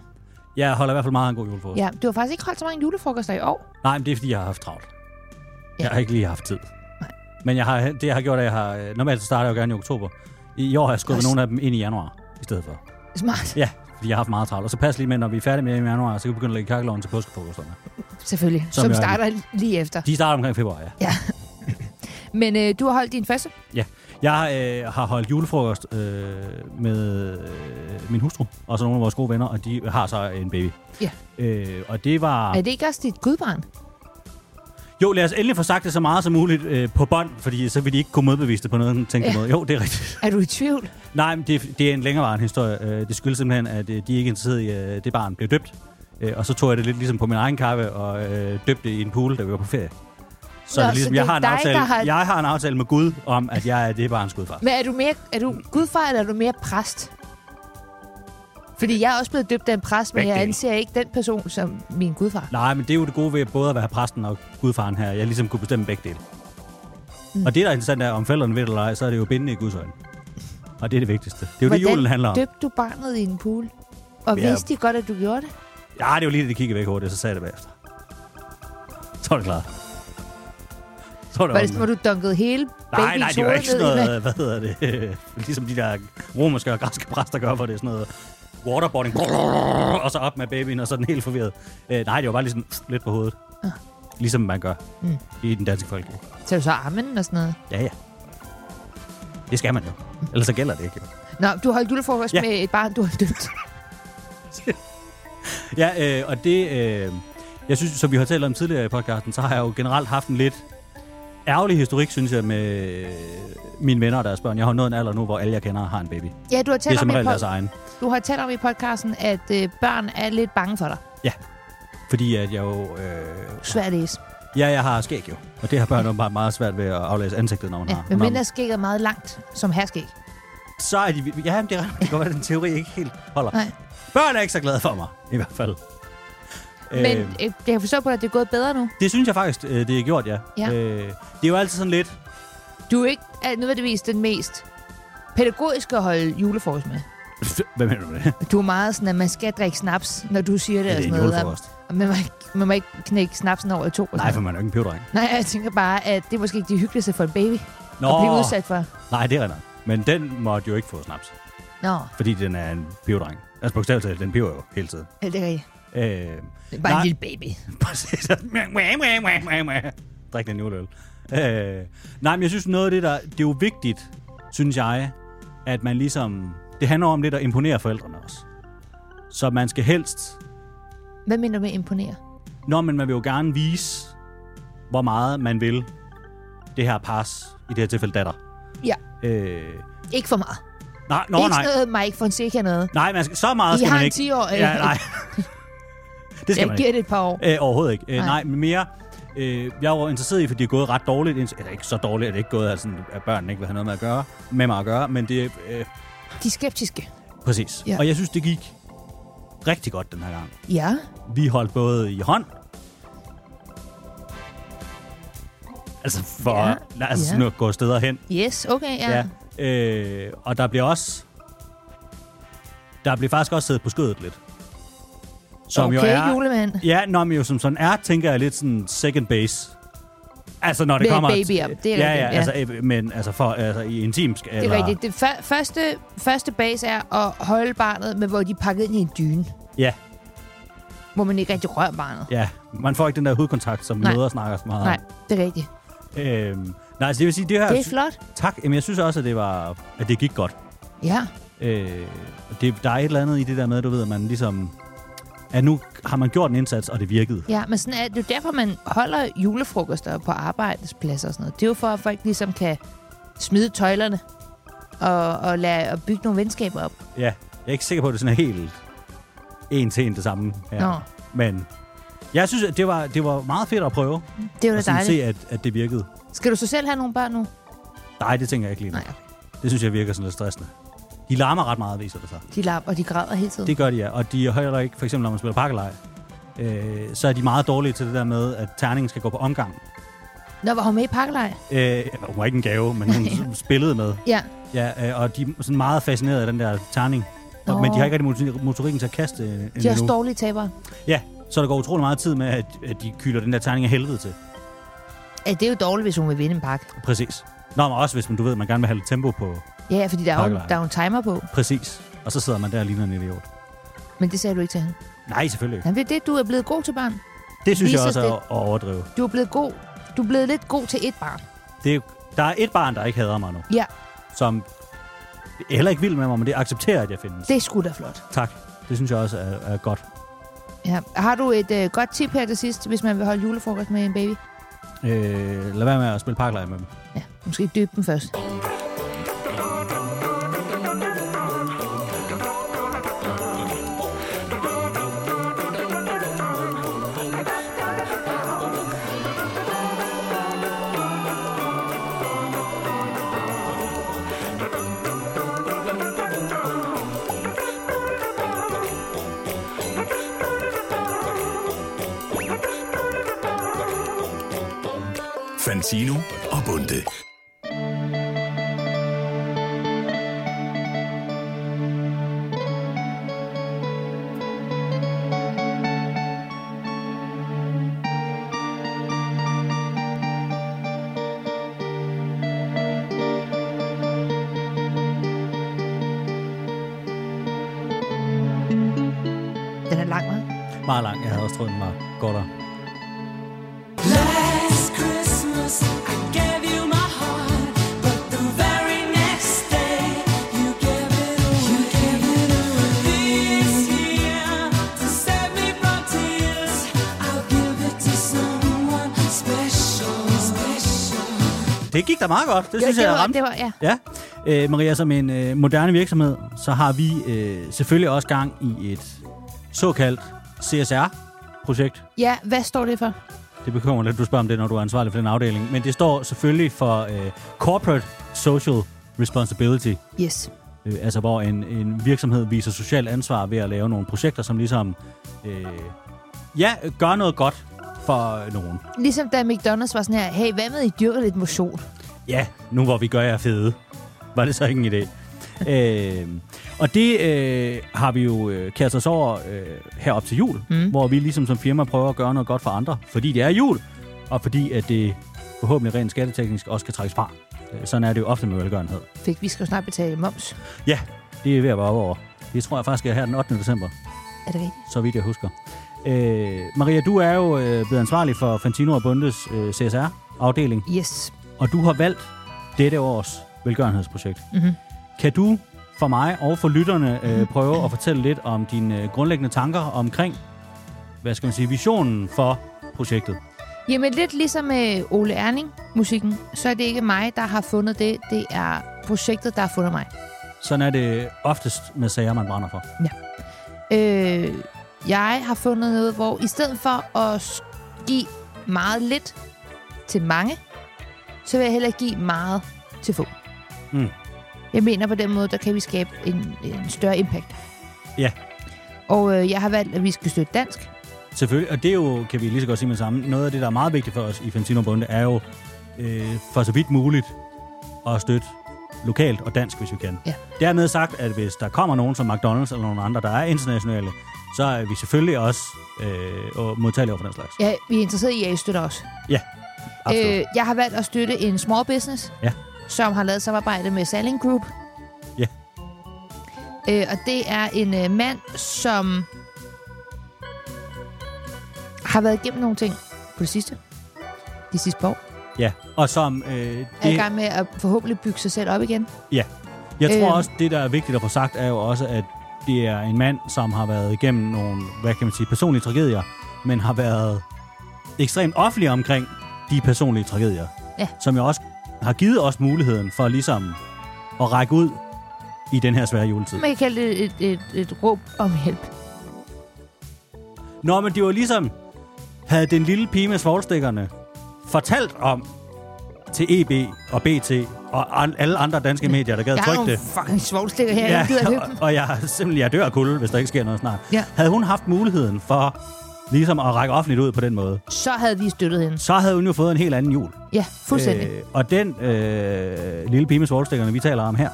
S2: Jeg holder i hvert fald meget af en god julefrokost. Ja.
S3: Ja, du har faktisk ikke holdt så mange julefrokoster i år.
S2: Nej, men det er fordi, jeg har haft travlt.
S3: Ja.
S2: Jeg har ikke lige haft tid.
S3: Nej.
S2: Men jeg har, det, jeg har gjort, er, at jeg har... øh, Normalt så starter jeg jo gerne i oktober. I i år har jeg skubbet
S3: Også-
S2: nogle af dem ind i januar i stedet for.
S3: Smart,
S2: Ja, fordi jeg har haft meget travlt. Og så pas lige med, når vi er færdige med i januar, så kan vi begynde at lægge kakkeloven til påskefrokosterne.
S3: selvfølgelig. Som,
S2: Som
S3: som
S2: jeg-
S3: starter lige efter.
S2: De starter omkring februar, ja.
S3: Men øh, du har holdt din første.
S2: ja. Jeg øh, har holdt julefrokost øh, med øh, min hustru og så nogle af vores gode venner, og de har så en baby.
S3: Ja.
S2: Øh, og det var...
S3: Er det ikke også dit gudbarn?
S2: Jo, lad os endelig få sagt det så meget som muligt øh, på bånd, fordi så vil de ikke kunne modbevise det på noget tænke
S3: Ja.
S2: ja. måde. Jo, det er rigtigt.
S3: Er du i tvivl?
S2: Nej, men det, det er en længerevarende historie. Øh, Det skyldes simpelthen, at øh, de ikke er interesseret i, at det barn blev døbt. Øh, Og så tog jeg det lidt ligesom på min egen kaffe og øh, døbte det i en pool, da vi var på ferie. Så,
S3: Nå,
S2: Nå, ligesom,
S3: så det
S2: jeg,
S3: er
S2: har en
S3: dig,
S2: aftale,
S3: der har-
S2: jeg har en aftale med Gud om, at jeg er det barns gudfar.
S3: Men er du, mere, er du gudfar, eller er du mere præst? Fordi jeg er også blevet døbt af en præst, men
S2: Begge
S3: jeg
S2: dele.
S3: anser ikke den person som min gudfar.
S2: Nej, men det er jo det gode ved både at være præsten og gudfaren her. Jeg ligesom kunne bestemme begge dele. Mm. Og det, der er interessant, er, om forældrene ved det eller ej, så er det jo bindende i Guds øjne. Og det er det vigtigste. Det er jo det, julen handler om.
S3: døbte du barnet i en pool? Og
S2: Ja.
S3: vidste de godt, at du gjorde det?
S2: Ja, det var lige det, de kiggede væk hurtigt, og så sagde jeg det bagefter. Så var det klart. Så var det
S3: Var det
S2: omvendt.
S3: sådan, hvor du dunkede hele
S2: Nej, nej,
S3: babyens
S2: det var
S3: hoved
S2: ikke sådan
S3: ned i vand?
S2: noget, hvad hedder det, ligesom de der romerske og græske præster gør, hvor det er sådan noget waterboarding, og så op med babyen, og så er den helt forvirret. Øh, nej, det var bare ligesom lidt på hovedet.
S3: Ah.
S2: Ligesom man gør
S3: Mm.
S2: mm. i den danske folkekirke.
S3: Tager du så armen og sådan noget?
S2: Ja, ja. Det skal man jo.
S3: Mm.
S2: Ellers så gælder det ikke, jo.
S3: Nå, du holdt julefrokost ja.
S2: Ja.
S3: med et barn, du har døbt.
S2: Ja, øh, og det... Øh, jeg synes, som vi har talt om tidligere i podcasten, så har jeg jo generelt haft en lidt ærgerlig historik, synes jeg, med øh, mine venner og deres børn. Jeg har jo nået en alder nu, hvor alle jeg kender har en baby.
S3: Ja, du har
S2: Det er
S3: talt, om
S2: som
S3: i,
S2: regel
S3: pod-
S2: deres egen.
S3: du har talt om i podcasten, at øh, børn er lidt bange for dig.
S2: Fordi at jeg jo... Øh,
S3: Svært at læse.
S2: ja, jeg har skæg jo. Og det har børn åbenbart meget svært ved at aflæse ansigtet, når man
S3: Ja,
S2: har.
S3: men
S2: når
S3: mindre skægget meget langt, som her skæg.
S2: Så er de... Ja, men det er ret- det kan godt være, at den teori ikke helt holder.
S3: Nej.
S2: Børn er ikke så glade for mig, i hvert fald.
S3: Men
S2: Øh,
S3: øh, jeg kan forstå på dig, at det er gået bedre nu.
S2: det synes jeg faktisk, øh, det er gjort, ja.
S3: Ja.
S2: Øh, det er jo altid sådan lidt...
S3: Du er ikke øh, nødvendigvis den mest pædagogiske at holde julefrokost med.
S2: Hvad mener du med det?
S3: Du er meget sådan, at man skal drikke snaps, når du siger det.
S2: Ja,
S3: og
S2: det er en
S3: sådan noget.
S2: julefrokost.
S3: Og Man må, ikke, man må ikke knække snapsen over i to. og
S2: Nej,
S3: sådan
S2: for man er jo ikke en pivdreng.
S3: noget. Nej, jeg tænker bare, at det er måske ikke det hyggeligste for en baby
S2: Nå,
S3: at blive udsat for.
S2: nej, det er rigtigt. nok. Men den måtte jo ikke få snaps,
S3: Nå,
S2: fordi den er en pivdreng. Altså bogstaveligt talt, den piver jo hele tiden.
S3: ja, det er rigtigt.
S2: Øh,
S3: Det er bare Nej. en
S2: Nej.
S3: lille baby.
S2: Præcis. Mwah, mwah, mwah, mwah, mwah, mwah. Drik den juleøl. Øh, nej, men jeg synes noget af det, der... Det er jo vigtigt, synes jeg, at man ligesom... Det handler om lidt at imponere forældrene også. Så man skal helst...
S3: Hvad mener du med imponere?
S2: Nå, men man vil jo gerne vise, hvor meget man vil det her pas, i det her tilfælde datter.
S3: Ja.
S2: Øh,
S3: Ikke for meget.
S2: nej, nå,
S3: Nå, ikke
S2: nej.
S3: sådan noget Mike Fonseca noget.
S2: Nej, man skal, så meget
S3: I
S2: skal
S3: har
S2: man
S3: en
S2: ikke.
S3: 10-årig.
S2: Ja, nej. det skal
S3: Jeg
S2: man
S3: giver
S2: ikke.
S3: det et par år.
S2: Øh, overhovedet ikke. Øh,
S3: Nej.
S2: nej. men mere... Øh, jeg var interesseret i, fordi det er gået ret dårligt. inds- Eller ikke så dårligt, at det ikke gået, altså, at børnene ikke vil have noget med, at gøre, med mig at gøre. Men det... Øh,
S3: De er skeptiske.
S2: præcis.
S3: Ja.
S2: Og jeg synes, det gik rigtig godt den her gang.
S3: Ja.
S2: Vi holdt både i hånd... Altså for
S3: Ja.
S2: ja. altså,
S3: Ja.
S2: sådan at gå steder hen.
S3: Yes, okay, ja. ja.
S2: ja. Øh, og der bliver også... Der bliver faktisk også siddet på skødet lidt.
S3: okay, julemand.
S2: Ja, nå, men jo som sådan er, tænker jeg lidt sådan second base. Altså, når det
S3: Med
S2: kommer...
S3: babyer, det er
S2: ja, ja,
S3: rigtigt, ja.
S2: altså, øh, men altså, for, altså i intim... Eller,
S3: Det er rigtigt. Det før- første, første base er at holde barnet, men hvor de er pakket ind i en dyne.
S2: Ja,
S3: Hvor man ikke rigtig rører barnet.
S2: ja. Man får ikke den der hudkontakt, som
S3: Nej.
S2: møder snakker så meget
S3: Nej, det er rigtigt.
S2: om. Øhm, nej, altså, det vil sige, det her...
S3: Det er flot.
S2: tak, men jeg synes også, at det, var, at det gik godt.
S3: Ja.
S2: Øh, det, der er et eller andet i det der med, du ved, at man ligesom... At nu har man gjort en indsats, og det virkede.
S3: Ja, men sådan er det er jo derfor, man holder julefrokoster på arbejdspladser og sådan noget. Det er jo for, at folk ligesom kan smide tøjlerne og, og, lade, og bygge nogle venskaber op.
S2: Ja, jeg er ikke sikker på, at det sådan er helt en til en det samme. Ja.
S3: Nå.
S2: Men jeg synes, at det var, det var meget fedt at prøve.
S3: Det er jo da
S2: og sådan se,
S3: dejligt.
S2: at, at det virkede.
S3: Skal du så selv have nogle børn nu?
S2: Nej, det tænker jeg ikke lige nu.
S3: Nej,
S2: Det synes jeg virker sådan lidt stressende. De larmer ret meget, viser det sig.
S3: de lapper, og de græder hele tiden.
S2: Det
S3: Det...
S2: gør de, ja. Og de er heller ikke, for eksempel når man spiller pakkelej, øh, så er de meget dårlige til det der med, at terningen skal gå på omgang.
S3: Nå, var hun med i pakkelej?
S2: Øh, hun var ikke en gave, men hun spillede med.
S3: Ja.
S2: Ja, øh, og de er sådan meget fascineret af den der terning.
S3: Nå.
S2: Og, men de har ikke rigtig motor- motorikken til at kaste øh,
S3: De er
S2: endnu.
S3: også dårlige tabere.
S2: Ja, så der går utrolig meget tid med, at, at de kylder den der terning af helvede til.
S3: Ja, det er jo dårligt, hvis hun vil vinde en pakke.
S2: Præcis. Nå, men også hvis man, du ved, at man gerne vil have lidt tempo på.
S3: Ja, fordi der er, jo,
S2: Pakkelej.
S3: der er jo en timer på.
S2: Præcis. Og så sidder man der og ligner en idiot.
S3: Men det sagde du ikke til hende.
S2: Nej, selvfølgelig ikke.
S3: Jamen, det er det, du er blevet god til barn.
S2: Det synes jeg
S3: viser
S2: også er
S3: det.
S2: at overdrive.
S3: Du er blevet god. Du er blevet lidt god til et barn.
S2: Det er, der er et barn, der ikke hader mig nu.
S3: Ja,
S2: som jeg heller ikke vil med mig, men det accepterer, at jeg findes.
S3: Det er sgu da flot.
S2: Tak. Det synes jeg også er, er godt.
S3: Ja. Har du et øh, godt tip her til sidst, hvis man vil holde julefrokost med en baby?
S2: Øh, lad være med at spille parkleje med dem.
S3: Ja, måske dybe den først.
S1: Fantino og Bunde.
S3: Den er lang, hva'?
S2: Meget lang. Jeg havde også troet, den var kortere.
S4: Last Christmas, I gave you my heart, but the very next day you gave it away. This year, to save me from tears, I'll give it to someone special, special.
S2: Det gik da meget godt. Det synes
S3: det
S2: jeg
S3: var-
S2: er ramt.
S3: det var- ja.
S2: ja. Øh, Maria, som en øh, moderne virksomhed, så har vi øh, selvfølgelig også gang i et såkaldt CSR-projekt.
S3: Ja, hvad står det for?
S2: Det bekymrer mig lidt, du spørger om det, når du er ansvarlig for den afdeling. Men det står selvfølgelig for øh, Corporate Social Responsibility.
S3: Yes.
S2: Øh, altså hvor en, en virksomhed viser socialt ansvar ved at lave nogle projekter, som ligesom, øh, ja, gør noget godt for nogen.
S3: Ligesom da McDonald's var sådan her, hey, hvad med I dyrker lidt motion?
S2: Ja, nu hvor vi gør jer fede, var det så ikke en idé. øh, og det øh, har vi jo øh, kastet os over øh, herop til jul, mm. hvor vi ligesom som firma prøver at gøre noget godt for andre, fordi det er jul, og fordi at det forhåbentlig rent skatteteknisk også kan trækkes fra. Øh, Sådan er det jo ofte med velgørenhed.
S3: Fik vi skal jo snart betale moms.
S2: Ja, det er ved at være oppe over. Det tror jeg faktisk er her den 8. december.
S3: Er det rigtigt?
S2: så vidt jeg husker. Øh, Maria, du er jo øh, blevet ansvarlig for Fantino og Bundes øh, CSR-afdeling,
S3: Yes.
S2: og du har valgt dette års velgørenhedsprojekt.
S3: Mhm.
S2: Kan du for mig og for lytterne øh, prøve at fortælle lidt om dine øh, grundlæggende tanker omkring, hvad skal man sige, visionen for projektet?
S3: Jamen lidt ligesom med Ole Erning-musikken, så er det ikke mig, der har fundet det. Det er projektet, der har fundet mig.
S2: Sådan er det oftest med sager, man brænder for.
S3: Øh, jeg har fundet noget, hvor i stedet for at s- give meget lidt til mange, så vil jeg hellere give meget til få.
S2: Mm.
S3: Jeg mener på den måde, der kan vi skabe en, en større impact.
S2: Ja.
S3: Og øh, jeg har valgt, at vi skal støtte dansk.
S2: Selvfølgelig, og det er jo, kan vi lige så godt sige med det samme, noget af det, der er meget vigtigt for os i Fantino Bunde, er jo øh, for så vidt muligt at støtte lokalt og dansk, hvis vi kan.
S3: Ja.
S2: Dermed sagt, at hvis der kommer nogen som McDonald's eller nogen andre, der er internationale, så er vi selvfølgelig også øh, modtagelige over for den slags.
S3: Ja, vi er interesserede i, at I støtter os.
S2: Absolut.
S3: Øh, jeg har valgt at støtte en small business,
S2: Ja.
S3: som har lavet samarbejde med Saling Group.
S2: Ja.
S3: Øh, og det er en øh, mand, som har været igennem nogle ting på det sidste. De sidste par år.
S2: Ja, og som... Øh,
S3: Er i
S2: det,
S3: gang med at forhåbentlig bygge sig selv op igen.
S2: jeg tror
S3: øh,
S2: også, det, der er vigtigt at få sagt, er jo også, at det er en mand, som har været igennem nogle, hvad kan man sige, personlige tragedier, men har været ekstremt offentlig omkring de personlige tragedier.
S3: Ja.
S2: Som jo også har givet os muligheden for ligesom at række ud i den her svære juletid.
S3: Man kan kalde det et, et, et råb om hjælp.
S2: Nå, men det var ligesom, havde den lille pige med svoglstikkerne fortalt om til EB og BT og an- alle andre danske medier, der gad
S3: Jeg har
S2: trykke
S3: nogle
S2: det.
S3: fucking svovlstikker her, ja, jeg gider ikke
S2: og, og jeg er simpelthen jeg dør af kulde, hvis der ikke sker noget snart.
S3: Ja.
S2: Havde hun haft muligheden for ligesom at række offentligt ud på den måde,
S3: Så havde vi støttet hende.
S2: så havde hun jo fået en helt anden jul.
S3: Ja, fuldstændig. Øh,
S2: og den øh, lille pige med svovlstikkerne, vi taler om her,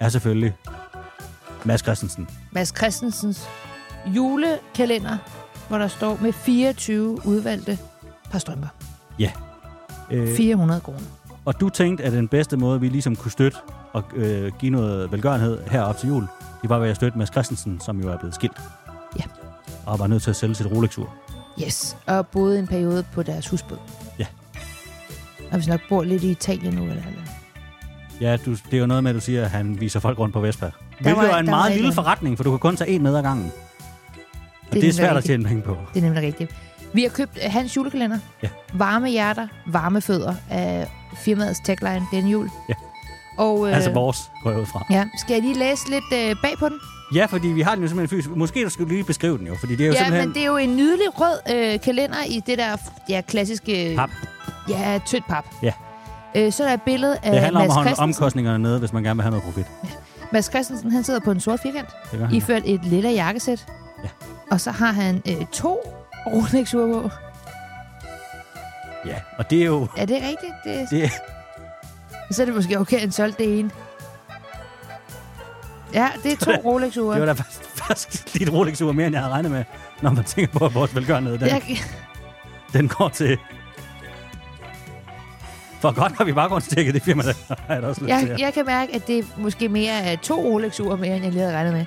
S2: er selvfølgelig Mads Christensen.
S3: Mads Christensens julekalender, hvor der står med 24 udvalgte par strømper.
S2: Øh,
S3: 400 kroner.
S2: og du tænkte, at den bedste måde, vi ligesom kunne støtte og øh, give noget velgørenhed herop til jul, det var ved at støtte Mads Christensen, som jo er blevet skilt.
S3: Ja.
S2: Og var nødt til at sælge sit Rolex-ur.
S3: Yes, og boede en periode på deres husbåd.
S2: Ja.
S3: Og hvis nok bor lidt i Italien nu, eller eller.
S2: Ja, du, det er jo noget med, at du siger, at han viser folk rundt på Vespa.
S3: Der var-
S2: Hvilket er en
S3: der var
S2: meget
S3: ikke
S2: lille
S3: noget.
S2: forretning, for du kan kun tage en med ad gangen. Og det, det er
S3: nemlig
S2: svært at
S3: rigtigt.
S2: tjene penge på.
S3: Det er nemlig rigtigt. Vi har købt øh, hans julekalender.
S2: Ja.
S3: Varme hjerter, varme fødder af firmaets tagline denne jul.
S2: Ja.
S3: Og,
S2: Øh. Altså vores, går jeg ud fra.
S3: Ja, skal jeg lige læse lidt øh, bag på den?
S2: Ja, fordi vi har den jo simpelthen fysisk. Måske der skulle du lige beskrive den jo, fordi det er jo
S3: Ja,
S2: simpelthen...
S3: men det er jo en nydelig rød øh, kalender i det der ja, klassiske...
S2: Pap.
S3: Ja, tyndt pap.
S2: Ja.
S3: Øh, så er der et billede af
S2: det handler om
S3: Mads
S2: at holde
S3: Christensen.
S2: omkostningerne nede, hvis man gerne vil have noget profit.
S3: Mads Christensen, han sidder på en sort firkant,
S2: Det gør han.
S3: iført et lille jakkesæt.
S2: Ja.
S3: Og så har han øh, to rolex ure på.
S2: Ja, og det er jo...
S3: Er det rigtigt? Det...
S2: Det,
S3: Så er det måske okay, at han solgte det ene. Ja, det er to rolex
S2: det var
S3: ure
S2: da faktisk, faktisk lidt rolex ur mere, end jeg havde regnet med, når man tænker på, at vores velgørenhed, den,
S3: jeg,
S2: den går til... For godt har vi bare rundt tjekket det firma, der har jeg da også lyst til.
S3: jeg,
S2: at-
S3: jeg kan mærke, at det er måske mere er to rolex ure mere, end jeg lige havde regnet med.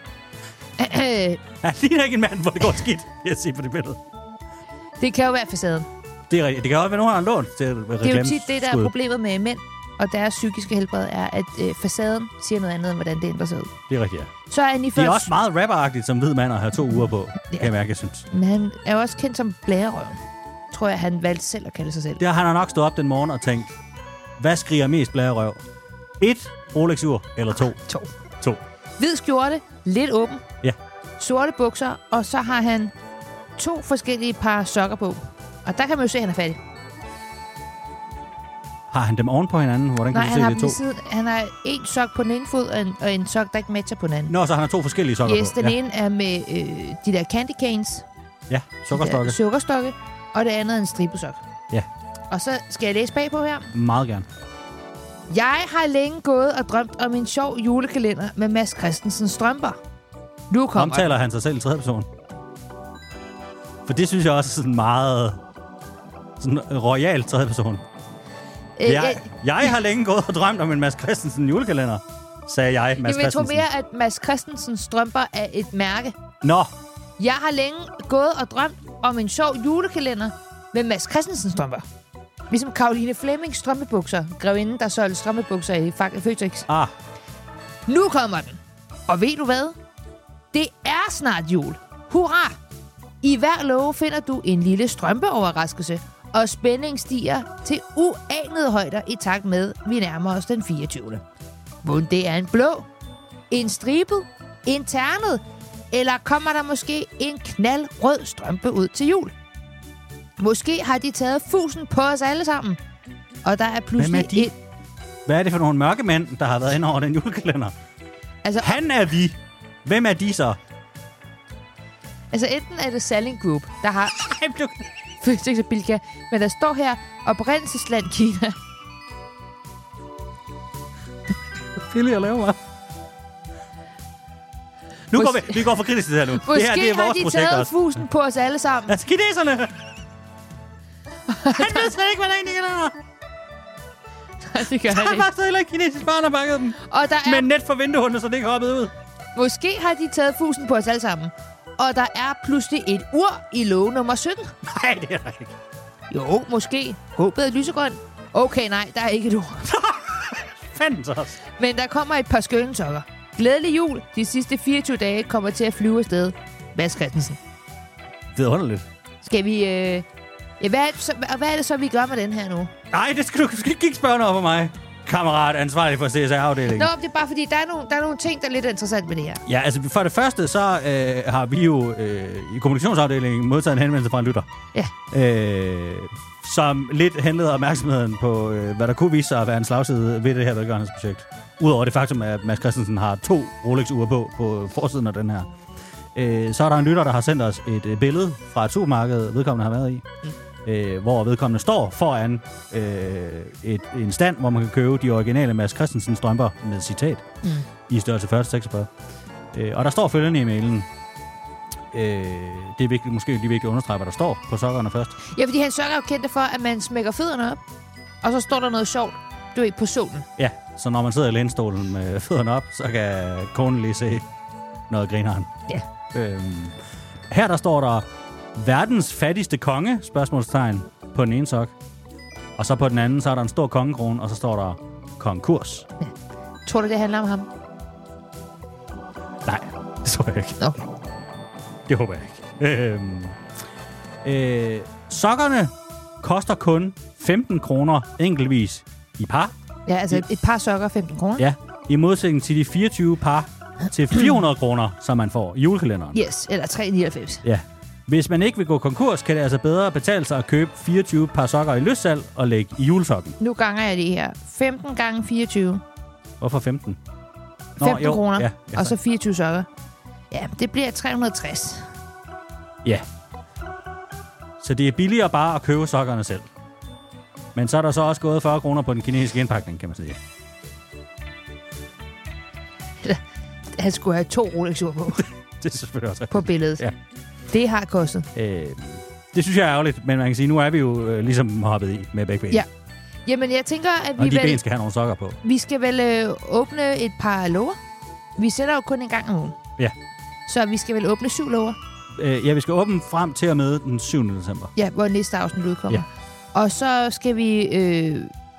S2: Han ligner ikke en mand, hvor det går skidt, vil jeg sige på det billede.
S3: det kan jo være facaden.
S2: Det er rigtigt. Det kan også være, nogen har lånt til reklame.
S3: Det er jo tit det, der er problemet med mænd og deres psykiske helbred, er, at øh, facaden siger noget andet, end hvordan det ændrer sig ud.
S2: Det er rigtigt, ja.
S3: Så er han i
S2: Det er
S3: først...
S2: også meget rapperagtigt som hvid mand at have to uger på, kan jeg mærke, jeg synes.
S3: Men han er jo også kendt som blærerøven. Tror jeg, han valgte selv at kalde sig selv.
S2: Der har han nok stået op den morgen og tænkt, hvad skriger mest blærerøv? Et Rolex-ur eller to?
S3: To.
S2: To.
S3: Hvid skjorte, lidt åben,
S2: Ja.
S3: sorte bukser, og så har han to forskellige par sokker på. Og der kan man jo se, at han er fattig.
S2: Har han dem oven på hinanden? Hvordan kan
S3: Nej,
S2: du
S3: han
S2: se
S3: har,
S2: det
S3: dem
S2: er to?
S3: ved siden, han har en sok på den ene fod, og en, og en sok, der ikke matcher på den anden.
S2: Nå, så han har to forskellige sokker
S3: yes,
S2: på.
S3: den ene er med øh, de der candy canes,
S2: Ja, sukkerstokke.
S3: Ja, sukkerstokke. Og det andet er en stribesok.
S2: Ja.
S3: Og så skal jeg læse bagpå her.
S2: Meget gerne.
S3: Jeg har længe gået og drømt om en sjov julekalender med Mads Christensen strømper. Nu kommer den.
S2: Omtaler han sig selv i tredje person? For det synes jeg også er sådan meget sådan royal tredje person.
S3: Øh,
S2: Jeg, jeg har længe gået og drømt om en Mads Christensen julekalender, sagde jeg, Mads
S3: Jamen, jeg tror
S2: Christensen.
S3: mere, at Mads Christensen strømper er et mærke.
S2: Nå,
S3: Jeg har længe gået og drømt om en sjov julekalender med Mads Christensen strømper. Ligesom Karoline Flemmings strømpebukser. Grevinden, der solgte strømpebukser i Fak- Føtex.
S2: ah,
S3: Nu kommer den. Og ved du hvad? Det er snart jul. Hurra! I hver låge finder du en lille strømpeoverraskelse, og spænding stiger til uanede højder i takt med, at vi nærmer os den 24. Hvordan det er en blå, en stribet, en ternet, eller kommer der måske en knaldrød strømpe ud til jul? Måske har de taget fusen på os alle sammen, og der er pludselig
S2: de?
S3: et...
S2: hvad er det for nogle mørke mænd, der har været inde over den julekalender?
S3: Altså,
S2: Han er vi. Hvem er de så?
S3: altså enten er det Salling Group, der har
S2: Ej, blev...
S3: Føtex og Bilka. Men der står her, oprindelsesland Kina.
S2: Billig at lave, hva'? Nu går vi, vi går for kritisk til det her nu.
S3: Måske
S2: det her, det er
S3: har
S2: vores
S3: de
S2: projekt
S3: taget
S2: også.
S3: fusen på os alle sammen.
S2: Altså, kineserne! Han ved slet ikke, hvad der egentlig er.
S3: det gør
S2: Han var stadig heller ikke kinesisk barn og bakkede dem.
S3: Og der er,
S2: Men
S3: Men...
S2: net for vinduerne, så det ikke hoppede ud.
S3: måske har de taget fusen på os alle sammen. Og der er pludselig et ur i låge nummer 17.
S2: Nej, det er der ikke.
S3: Jo, måske. Håbet er lysegrøn. Okay, nej, der er ikke et ur.
S2: Fanden så også.
S3: Men der kommer et par skønne sokker. Glædelig jul. De sidste 24 dage kommer til at flyve afsted. Mads Christensen.
S2: Det er underligt.
S3: Skal vi... Øh... Ja, hvad, er det så, hvad er det så, vi gør med den her nu?
S2: Nej, det skal du, du skal ikke kigge spørgende over på mig. Kammerat, ansvarlig for CSR-afdelingen.
S3: Nå, det er bare fordi, der er, nogle, der er nogle ting, der er lidt interessant med det her.
S2: Ja, altså for det første, så øh, har vi jo øh, i kommunikationsafdelingen modtaget en henvendelse fra en lytter.
S3: Ja.
S2: Øh, som lidt henleder opmærksomheden på, øh, hvad der kunne vise sig at være en slagside ved det her velgørenhedsprojekt. Udover det faktum, at Mads Christensen har to Rolex-ure på på forsiden af den her. Øh, så er der en lytter, der har sendt os et øh, billede fra et supermarked, vedkommende har været i. Øh, hvor vedkommende står foran øh, et, en stand, hvor man kan købe de originale Mads Christensen strømper med citat
S3: Mm.
S2: i størrelse 40-46. Øh, og der står følgende i mailen. Øh, det er vigtigt, måske lige vigtigt at understrege, hvad der står på sokkerne først.
S3: Ja, fordi han sørger jo kendte for, at man smækker fødderne op, og så står der noget sjovt, du ved, på solen.
S2: Ja, så når man sidder i lænestolen med fødderne op, så kan konen lige se noget grineren.
S3: Ja.
S2: Øhm, her der står der, verdens fattigste konge, spørgsmålstegn, på den ene sok. Og så på den anden, så er der en stor kongekrone, og så står der konkurs.
S3: Tror du, det handler om ham?
S2: Nej, det tror jeg ikke.
S3: Nå.
S2: Det håber jeg ikke. Øhm, øh, sokkerne koster kun 15 kroner enkeltvis i par.
S3: Ja, altså et, et par sokker 15 kroner.
S2: Ja, i modsætning til de 24 par til 400 kroner, som man får i julekalenderen.
S3: Yes, eller 3,99.
S2: Ja. Hvis man ikke vil gå konkurs, kan det altså bedre betale sig at købe 24 par sokker i løssalg og lægge i julesokken.
S3: Nu ganger jeg det her. 15 gange 24.
S2: Hvorfor 15?
S3: 15
S2: jo,
S3: kroner.
S2: Ja, ja,
S3: og så 24 sokker. Ja, det bliver 360.
S2: ja. Så det er billigere bare at købe sokkerne selv. Men så er der så også gået 40 kroner på den kinesiske indpakning, kan man sige.
S3: Han skulle have to rolex på,
S2: Det er selvfølgelig også
S3: på billedet.
S2: Ja.
S3: Det har kostet.
S2: Øh, det synes jeg er ærgerligt, men man kan sige, nu er vi jo øh, ligesom hoppet i med begge ben.
S3: Ja, Jamen, jeg tænker, at
S2: og
S3: vi,
S2: de ben
S3: vel,
S2: skal have nogle sokker på.
S3: vi skal vel øh, åbne et par lover. Vi sætter jo kun en gang om ugen.
S2: Ja.
S3: Så vi skal vel åbne syv lover.
S2: Øh, ja, vi skal åbne frem til og med den 7. december.
S3: Ja, hvor næste afsnit udkommer. Ja. Og så skal vi... Øh,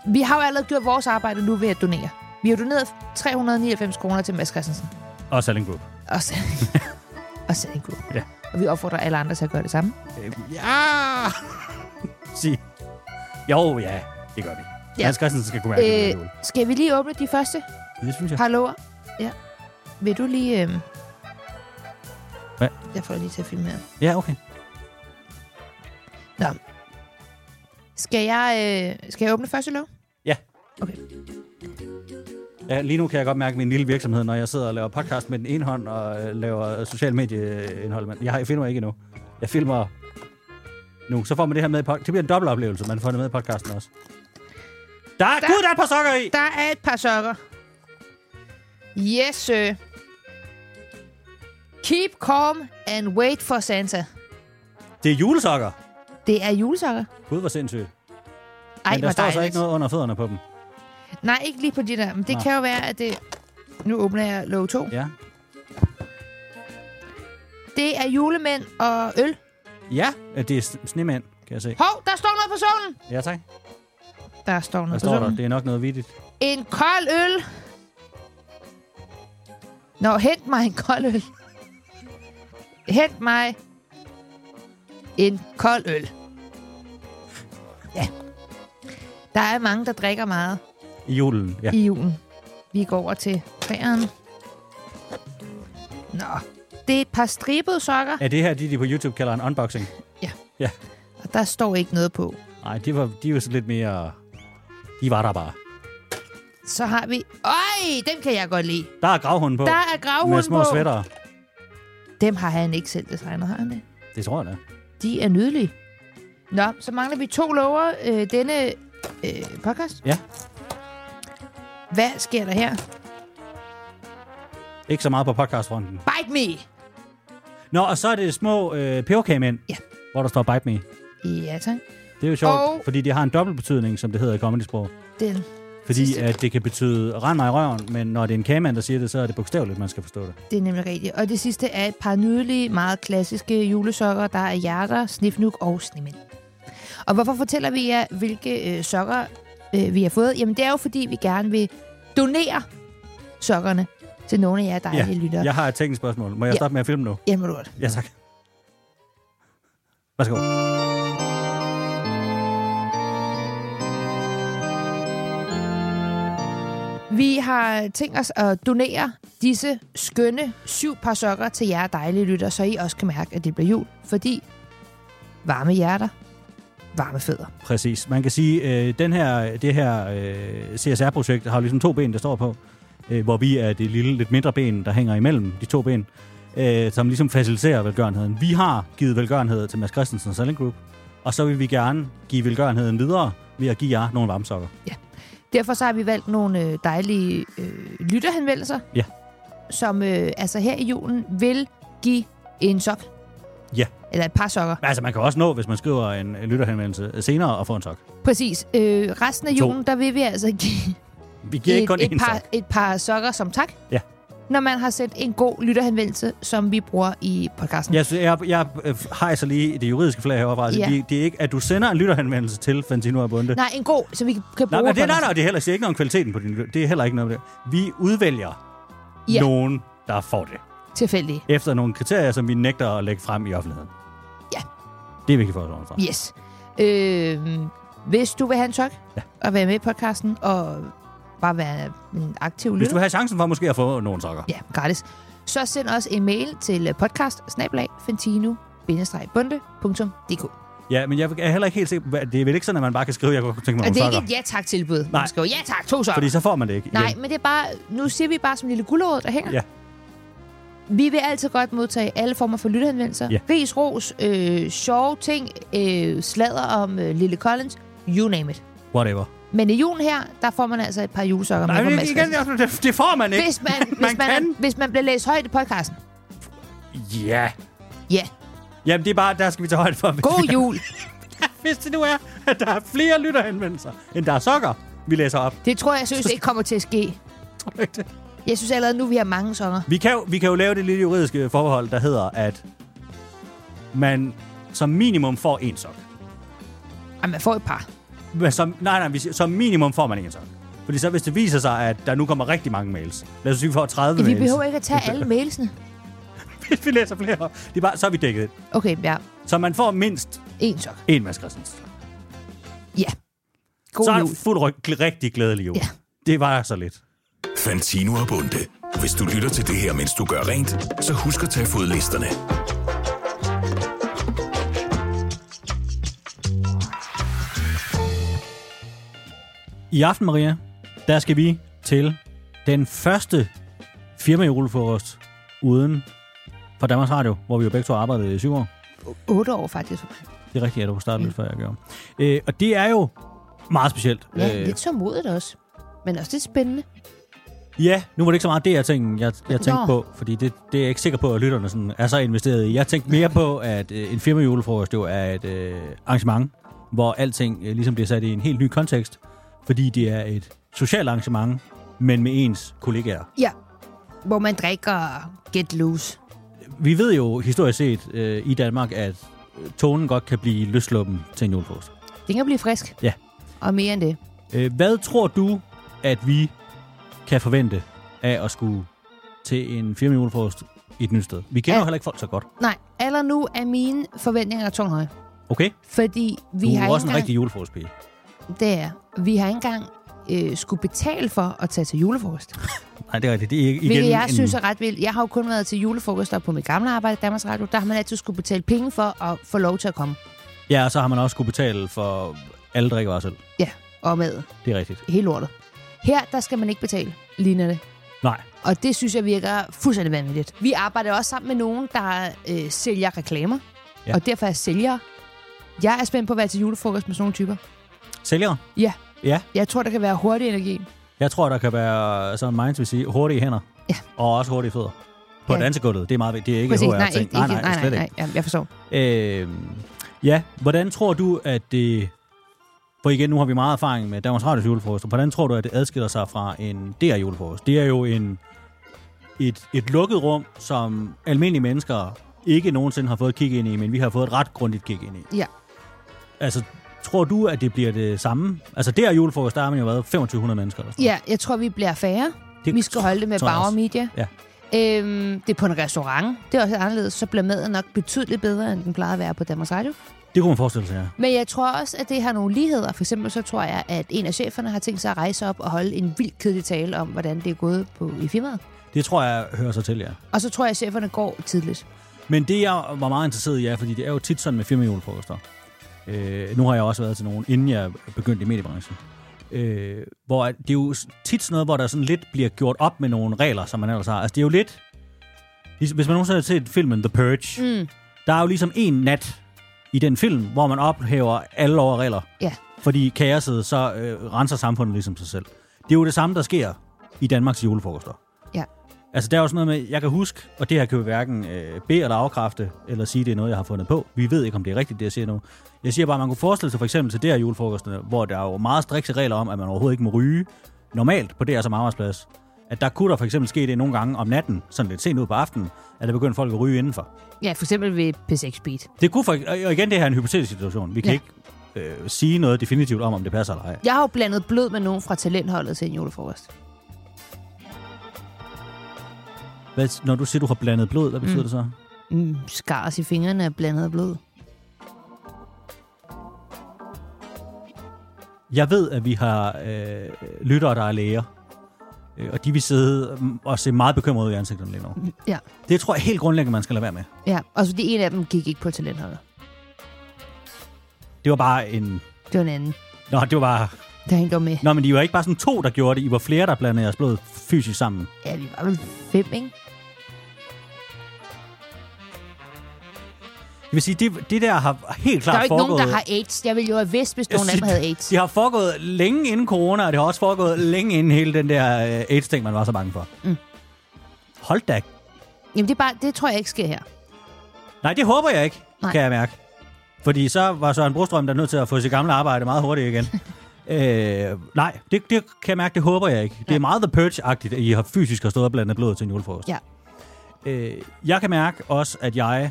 S3: vi har jo allerede gjort vores arbejde nu ved at donere. Vi har doneret 399 kroner til Mads Christensen.
S2: Og Selling Group.
S3: Og så, og så en gruppe.
S2: Ja.
S3: Og vi opfordrer alle andre til at gøre det samme.
S2: Øh, ja! Sig. Jo, ja, det gør vi.
S3: Ja.
S2: Ja. Hans Christensen skal kunne mærke øh.
S3: Øh,
S2: det.
S3: skal vi lige åbne de første
S2: Det synes jeg.
S3: par lover? Ja. Vil du lige... Øh...
S2: Hvad?
S3: Jeg får lige til at filme her.
S2: Ja, okay.
S3: Nå. Skal jeg, øh, skal jeg åbne første lov?
S2: Ja.
S3: Okay.
S2: Ja, lige nu kan jeg godt mærke min lille virksomhed, når jeg sidder og laver podcast med den ene hånd og øh, laver social medieindhold. Men jeg, har- jeg filmer ikke endnu. Jeg filmer nu. Så får man det her med i pod- Det bliver en dobbelt oplevelse, man får det med i podcasten også. Der er,
S3: Der-
S2: der... Gud, der er et par sokker i!
S3: Der er et par sokker. Yes, sir. Keep calm and wait for Santa.
S2: Det er julesokker.
S3: Det er julesokker.
S2: Gud, hvor sindssygt.
S3: Ej,
S2: Men der
S3: hvor
S2: står så
S3: dejligt.
S2: ikke noget under fødderne på dem.
S3: Nej, ikke lige på de der. Men det
S2: Nå.
S3: kan jo være, at det... Nu åbner jeg lov 2.
S2: Ja.
S3: Det er julemænd og øl.
S2: Ja, øh, det er sn- snemænd, kan jeg se.
S3: Hov, der står noget på solen!
S2: Ja, tak.
S3: Der står
S2: Hvad
S3: noget på
S2: står der?
S3: solen.
S2: Det er nok noget vittigt.
S3: En kold øl! Nå, hent mig en kold øl. Hent mig en kold øl. Ja. Der er mange, der drikker meget
S2: I julen, ja.
S3: i julen. Vi går over til træerne. Nå, det er et par stribede sokker,
S2: Er det her, de, de på YouTube kalder en unboxing?
S3: og der står ikke noget på.
S2: Nej, de var, de var sådan lidt mere... De var der bare.
S3: Så har vi... Øj, dem kan jeg godt lide.
S2: Der er gravhunden på.
S3: Der er
S2: Med
S3: gravhunden
S2: små
S3: på.
S2: sweatere.
S3: Dem har han ikke selv designet, har han det?
S2: Det tror jeg da.
S3: De er nydelige. Nå, så mangler vi to lover øh, denne øh, podcast.
S2: Ja.
S3: Hvad sker der her?
S2: Ikke så meget på podcastfronten.
S3: Bite me!
S2: Nå, og så er det små øh, peberkagemænd,
S3: Ja.
S2: hvor der står Bite Me.
S3: Ja, tak.
S2: Det er jo sjovt,
S3: Og-
S2: fordi det har en dobbelt betydning, som det hedder i comedy-sprog.
S3: Den.
S2: Fordi
S3: Sidste.
S2: at det kan betyde, rend mig i røven, men når det er en kagemand, der siger det, så er det bogstaveligt, man skal forstå det.
S3: Det er nemlig rigtigt. Og det sidste er et par nydelige, meget klassiske julesokker, der er hjerter, snifnuk og snemænd. Og hvorfor fortæller vi jer, hvilke øh, sokker øh, vi har fået? Jamen, det er jo, fordi vi gerne vil donere sokkerne til nogle af jer dejlige ja. lyttere. Ja.
S2: Jeg har et teknisk spørgsmål. Må jeg
S3: Ja.
S2: stoppe med at filme nu?
S3: Jamen, godt.
S2: Ja, tak. Værsgo.
S3: Vi har tænkt os at donere disse skønne syv par sokker til jer dejlige lytter, så I også kan mærke, at det bliver jul. Fordi varme hjerter, varme fødder.
S2: Præcis. Man kan sige, øh, den her, det her øh, CSR-projekt har jo ligesom to ben, der står på, øh, hvor vi er det lille, lidt mindre ben, der hænger imellem de to ben, øh, som ligesom faciliterer velgørenheden. Vi har givet velgørenhed til Mads Christensen og Selling Group, og så vil vi gerne give velgørenheden videre ved at give jer nogle varmsokker.
S3: Derfor så har vi valgt nogle øh, dejlige øh, lytterhenvendelser,
S2: Ja.
S3: som øh, altså her i julen vil give en sok.
S2: Ja.
S3: Eller et par sokker.
S2: Altså, man kan også nå, hvis man skriver en, en lytterhenvendelse senere og får en sok.
S3: Præcis. Øh, resten af
S2: To.
S3: julen, der vil vi altså give
S2: Vi giver ikke kun
S3: et,
S2: én
S3: et, par,
S2: sok.
S3: et par sokker som tak.
S2: Ja.
S3: når man har sendt en god lytterhenvendelse, som vi bruger i podcasten.
S2: Jeg, sy- jeg, jeg øh, hejser lige det juridiske flag heroppe. Altså,
S3: Ja.
S2: yeah. det, det er ikke, at du sender en lytterhenvendelse til Fantino Abunde.
S3: Nej, en god, så vi kan kan bruge
S2: Nej, men det, nej,
S3: på noget.
S2: nej, det er heller det er ikke noget om kvaliteten på din lytter. Det er heller ikke noget om det. Vi udvælger
S3: Ja.
S2: yeah. nogen, der får det.
S3: Tilfældige.
S2: Efter nogle kriterier, som vi nægter at lægge frem i offentligheden.
S3: Ja.
S2: Det er vigtigt for os fra.
S3: Yes. Øh, hvis du vil have en chok ja. og være med i podcasten og bare være en aktiv
S2: Hvis du
S3: lytter,
S2: vil have chancen for måske at få nogle sokker.
S3: ja, gratis, så send os en mail til podcast bundedk
S2: Yeah. Ja, men jeg er heller ikke helt sikker på, hvad- det er vel ikke sådan, at man bare kan skrive, jeg kunne godt tænke mig
S3: Og det
S2: nogle
S3: er
S2: sokker.
S3: ikke et ja-tak-tilbud.
S2: Nej.
S3: Man skriver ja tak, to sokker.
S2: Fordi så får man det ikke
S3: Nej,
S2: igen.
S3: men det er bare, nu siger vi bare som lille guldråd, der hænger.
S2: Ja.
S3: Vi vil altid godt modtage alle former for lyttehenvendelser.
S2: Ja.
S3: Ris, ros, øh, sjove ting, øh, sladder om øh, Lille Collins, you name it.
S2: Whatever.
S3: Men i julen her, der får man altså et par julesokker
S2: Nej,
S3: med.
S2: men
S3: fra Mads
S2: igen,
S3: Christensen.
S2: det, det får man ikke.
S3: hvis man, hvis, man,
S2: kan.
S3: Er, hvis man bliver læst højt i podcasten.
S2: Ja.
S3: Ja,
S2: Jamen, det er bare, der skal vi tage højde for. hvis vi-
S3: god jul.
S2: Hvis det nu er, at der er flere lytterhenvendelser, end der er sokker, vi læser op.
S3: Det tror jeg, synes ikke kommer til at ske. Jeg synes allerede nu, vi har mange sokker.
S2: Vi kan, jo, vi kan jo lave det lille juridiske forbehold, der hedder, at man som minimum får en sok.
S3: Ej, man får et par.
S2: Men Som, nej, nej, vi siger, som minimum får man en sok. Fordi så hvis det viser sig, at der nu kommer rigtig mange mails. Lad os sige, vi får 30
S3: Vi
S2: mails.
S3: behøver ikke at tage alle mailsene.
S2: Hvis vi læser flere op, det er bare, så er vi dækket. ind.
S3: Okay, ja.
S2: Så man får mindst
S3: En sok.
S2: en Mads Christensen.
S3: Ja. God
S2: så er
S3: jul.
S2: det fuld ryg, rigtig glædelig jul.
S3: Ja.
S2: Det var så lidt.
S1: Fantino og Bunde. Hvis du lytter til det her, mens du gør rent, så husk at tage fodlisterne.
S2: I aften, Maria, der skal vi til den første firma julefrokost uden for Danmarks Radio, hvor vi jo begge to arbejdede i syv år.
S3: Otte år faktisk.
S2: Det er rigtigt, at du kunne starte
S3: Mm.
S2: lidt før, jeg gjorde. Øh, og det er jo meget specielt.
S3: Ja, øh. lidt så modigt også. Men også lidt spændende.
S2: ja, nu var det ikke så meget det, jeg tænkte, jeg, jeg tænkte
S3: Nå.
S2: på, fordi det, det er jeg ikke sikker på, at lytterne sådan er så investeret i. Jeg tænkte mere på, at øh, en firma julefrokost jo er et øh, arrangement, hvor alting øh, ligesom bliver sat i en helt ny kontekst, fordi det er et socialt arrangement, men med ens kollegaer.
S3: Ja. Hvor man drikker get loose.
S2: Vi ved jo historisk set øh, i Danmark, at øh, tonen godt kan blive løsluppen til en julefrokost.
S3: Det kan blive frisk.
S2: Ja.
S3: Og mere end det.
S2: Øh, hvad tror du, at vi kan forvente af at skulle til en firmajulefrokost i et nyt sted? Vi kender
S3: Ja.
S2: ja. jo heller ikke folk så godt.
S3: Nej, aller nu er mine forventninger tunghøje.
S2: Okay?
S3: Fordi vi
S2: Du
S3: har
S2: er
S3: ikke
S2: også en
S3: engang,
S2: rigtig julefrokostpige.
S3: Det er. Vi har ikke engang øh, skulle betale for at tage til julefrokost.
S2: Nej, det er rigtigt. Det er ikke, igen
S3: Hvilket jeg
S2: en,
S3: synes er ret vildt. Jeg har jo kun været til julefrokoster på mit gamle arbejde i Danmarks Radio. Der har man altid skulle betale penge for at få lov til at komme.
S2: Ja, og så har man også skulle betale for alle drikkevarer selv.
S3: Ja, og med
S2: Det er rigtigt.
S3: hele lortet. Her, der skal man ikke betale, ligner det.
S2: Nej.
S3: Og det synes jeg virker fuldstændig vanvittigt. Vi arbejder også sammen med nogen, der øh, sælger reklamer. Ja.
S2: Ja.
S3: Og derfor er sælgere. Jeg er spændt på at være til julefrokost med sådan nogle typer.
S2: Sælgere?
S3: Ja,
S2: Ja.
S3: jeg tror, der kan være hurtig energi.
S2: Jeg tror, der kan være, som Minds vil sige, hurtige hænder.
S3: Ja.
S2: Og også hurtige fødder. På
S3: Ja.
S2: ja. dansegulvet. Det er meget vigtigt. Det er ikke
S3: Præcis.
S2: HR-ting.
S3: Nej, ikke, ikke, nej, nej,
S2: slet
S3: nej, Jamen, jeg forstår.
S2: Øh, ja, hvordan tror du, at det... For igen, nu har vi meget erfaring med Danmarks Radios julefrokost. Hvordan tror du, at det adskiller sig fra en DR julefrokost? Det er jo en, et, et lukket rum, som almindelige mennesker ikke nogensinde har fået et kig ind i, men vi har fået et ret grundigt kig ind i.
S3: Ja.
S2: Altså, tror du, at det bliver det samme? Altså, der julefrokost, der har man jo været 2500 mennesker. Eller sådan
S3: ja, jeg tror, vi bliver færre.
S2: Det
S3: vi skal holde det med
S2: tror jeg
S3: Bauer
S2: også.
S3: Media.
S2: Ja.
S3: Øhm, det er på en restaurant. Det er også anderledes. Så bliver maden nok betydeligt bedre, end den plejede at være på Danmarks Radio.
S2: noget. Det kunne man forestille sig, ja.
S3: Men jeg tror også, at det har nogle ligheder. For eksempel så tror jeg, at en af cheferne har tænkt sig at rejse op og holde en vildt kedelig tale om, hvordan det er gået på, i firmaet.
S2: Det tror jeg hører sig til, ja.
S3: Og så tror jeg, at cheferne går tidligt.
S2: Men det, jeg var meget interesseret i, er, fordi det er jo tit sådan med firmajulefrokoster. Øh, nu har jeg også været til nogen, inden jeg begyndte i mediebranchen. Øh, hvor at det er jo s- tit sådan noget, hvor der sådan lidt bliver gjort op med nogle regler, som man ellers har. Altså, det er jo lidt... ligesom- Hvis man nogensinde har set filmen The Purge, mm. der er jo ligesom en nat i den film, hvor man ophæver alle lov og regler.
S3: Ja.
S2: Fordi kaoset, så øh, renser samfundet ligesom sig selv. Det er jo det samme, der sker i Danmarks julefrokoster.
S3: Ja.
S2: Altså, der er jo sådan noget med, jeg kan huske, og det her kan jo hverken øh, bede eller afkræfte, eller sige, det er noget, jeg har fundet på. Vi ved ikke, om det er rigtigt, det jeg siger nu. Jeg siger bare, at man kunne forestille sig for eksempel til der julefrokosterne, hvor der er jo meget strikse regler om, at man overhovedet ikke må ryge normalt på DR som arbejdsplads. At der kunne der for eksempel ske det nogle gange om natten, sådan lidt sent ud på aftenen, at der begyndte folk at ryge indenfor.
S3: Ja, for eksempel ved P6 Speed.
S2: Det kunne for, og igen, det her er en hypotetisk situation. Vi kan
S3: Ja.
S2: ja. ikke øh, sige noget definitivt om, om det passer eller ej.
S3: Jeg har jo blandet blød med nogen fra talentholdet til en julefrokost.
S2: Hvad, når du siger, du har blandet blod, hvad betyder mm. det så?
S3: Mm, skars i fingrene er blandet af blød.
S2: Jeg ved, at vi har øh, lyttere, der er læger. Øh, og de vil sidde mm, og se meget bekymrede ud i ansigterne lige nu.
S3: Ja.
S2: Det tror jeg helt grundlæggende, man skal lade være med.
S3: Ja, og så de en af dem gik ikke på talentholdet.
S2: Det var bare en...
S3: Det var en anden,
S2: Nå, det var bare...
S3: der er en, der var med.
S2: Nå, men I var ikke bare sådan to, der gjorde det. I var flere, der blandede jeres blod fysisk sammen.
S3: Ja, vi var vel fem, ikke?
S2: Det vil sige, det, det der har helt
S3: Der
S2: klart
S3: er jo ikke
S2: foregået...
S3: nogen, der har AIDS. Jeg ville jo have vidst, hvis nogen af dem havde AIDS.
S2: Det har foregået længe inden corona, og det har også foregået længe inden hele den der øh, AIDS-ting, man var så bange for.
S3: Mm.
S2: Hold da.
S3: Jamen, det, er bare, det tror jeg ikke sker her.
S2: Nej, det håber jeg ikke,
S3: Nej.
S2: Nej. kan jeg mærke. Fordi så var Søren Brostrøm der nødt til at få sit gamle arbejde meget hurtigt igen. øh, nej, det, det kan jeg mærke, det håber jeg ikke. Det er meget The Purge-agtigt, at I har fysisk har stået og blandet blod til en julefrokost.
S3: Ja.
S2: Øh, jeg kan mærke også, at jeg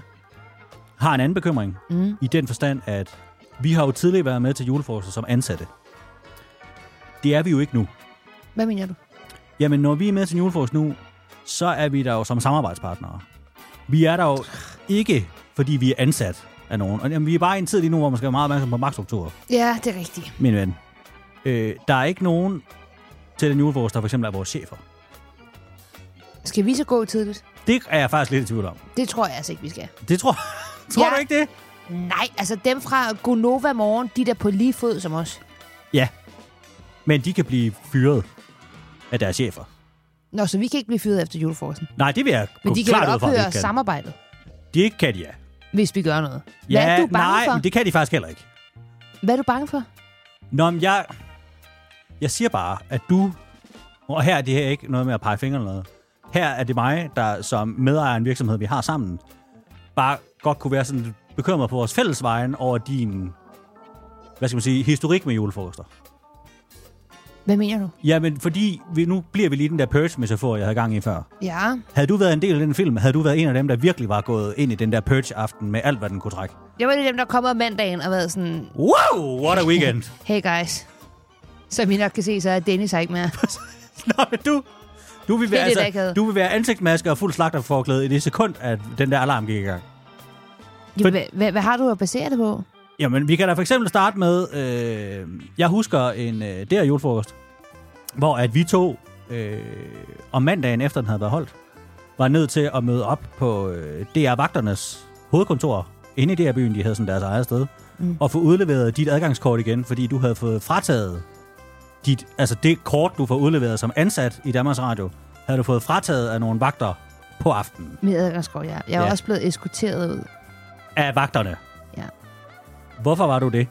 S2: har en anden bekymring.
S3: Mm.
S2: I den forstand, at vi har jo tidligere været med til julefrokoster som ansatte. Det er vi jo ikke nu.
S3: Hvad mener du?
S2: Jamen, når vi er med til en julefrokost nu, så er vi der jo som samarbejdspartnere. Vi er der jo ikke, fordi vi er ansat af nogen. Og jamen, vi er bare i en tid lige nu, hvor man skal være meget opmærksom på magtstrukturer,
S3: Ja, det er rigtigt.
S2: min ven. Øh, der er ikke nogen til den julefrokost, der for eksempel er vores chefer.
S3: Skal vi så gå tidligt?
S2: Det er jeg faktisk lidt i tvivl om.
S3: Det tror jeg altså ikke, vi skal.
S2: Det tror, tror
S3: Ja.
S2: du ikke det?
S3: Nej, altså dem fra Gonova Morgen, de der på lige fod som os.
S2: Ja. Men de kan blive fyret af deres chefer.
S3: Nå, så vi kan ikke blive fyret efter julefrokosten.
S2: Nej, det vil jeg
S3: Men
S2: gå
S3: de kan
S2: klart
S3: jo
S2: ud fra, at de
S3: ophøre
S2: ikke kan.
S3: samarbejdet,
S2: De ikke kan, ja.
S3: hvis vi gør noget. Hvad
S2: ja
S3: er du bange
S2: nej,
S3: for?
S2: men det kan de faktisk heller ikke.
S3: Hvad er du bange for?
S2: Nå, men jeg... Jeg siger bare, at du... Og her er det her ikke noget med at pege fingre eller noget. Her er det mig, der som medejer af en virksomhed, vi har sammen, bare godt kunne være sådan lidt bekymret på vores fælles vejen over din, hvad skal man sige, historik med julefrokoster.
S3: Hvad mener du?
S2: Jamen, fordi vi, nu bliver vi lige den der purge-metafor, jeg havde gang i før.
S3: Ja,
S2: Havde du været en del af den film, havde du været en af dem, der virkelig var gået ind i den der purge-aften med alt, hvad den kunne trække.
S3: jeg var en af dem, der kommer mandagen og været sådan,
S2: Wow, what a weekend!
S3: hey guys. Som I nok kan se, så er Dennis her ikke mere.
S2: Nå, men du... Du vil,
S3: Det
S2: være,
S3: er lidt
S2: altså,
S3: akavet.
S2: du vil være ansigtsmaske og fuld slagterforklæde i det sekund, at den der alarm gik i gang.
S3: Jamen, hvad, hvad, hvad har du at basere det på?
S2: Jamen, vi kan da for eksempel starte med... Øh, jeg husker en øh, der julefrokost, hvor at vi to øh, om mandagen efter den havde været holdt, var nødt til at møde op på øh, DR-vagternes hovedkontor inde i DR-byen, de havde sådan deres eget sted, mm. og få udleveret dit adgangskort igen, fordi du havde fået frataget dit, altså det kort, du får udleveret som ansat i Danmarks Radio, havde du fået frataget af nogle vagter på aftenen
S3: Med adgangskort, ja. Jeg er ja.
S2: Ja.
S3: også blevet eskorteret ud.
S2: af vagterne.
S3: Ja.
S2: Hvorfor var du det?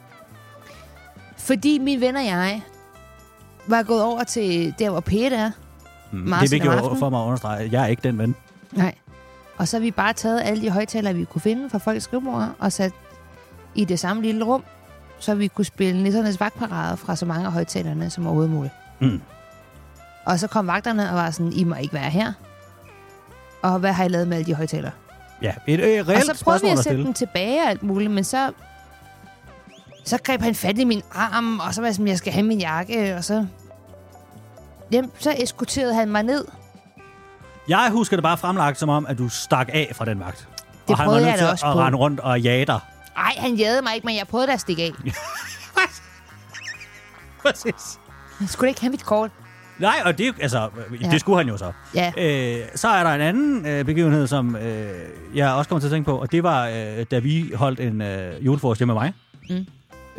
S3: Fordi min ven og jeg var gået over til der, hvor Peter er. Mm,
S2: det er vigtigt for mig at understrege, at jeg er ikke den ven.
S3: Nej. Og så har vi bare taget alle de højtalere, vi kunne finde fra folks skrivebord, og sat i det samme lille rum, så vi kunne spille nissernes vagtparade fra så mange af højtalerne som overhovedet muligt.
S2: Mm.
S3: Og så kom vagterne og var sådan, I må ikke være her. Og hvad har I lavet med alle de højtalere?
S2: Ja, et øh, reelt
S3: Og så prøvede vi
S2: spørgsmål
S3: at
S2: at
S3: sætte
S2: stille.
S3: den tilbage og alt muligt, men så... Så greb han fat i min arm, og så var jeg sådan, jeg skal have min jakke, og så... Jamen, så eskorterede han mig ned.
S2: Jeg husker det bare fremlagt som om, at du stak af fra den vagt.
S3: Det
S2: og han var
S3: prøvede
S2: nødt
S3: jeg
S2: til
S3: da også
S2: at
S3: på.
S2: rende rundt og jage dig.
S3: Ej, han jagede mig ikke, men jeg prøvede da at stikke af.
S2: Præcis.
S3: Han skulle da ikke have mit kort.
S2: Nej, og det, er jo- altså,
S3: Ja.
S2: ja. det skulle han jo så.
S3: Ja.
S2: Øh, så er der en anden øh, begivenhed, som øh, jeg også kommer til at tænke på, og det var, øh, da vi holdt en øh, julefrokost hjemme med mig. Mm.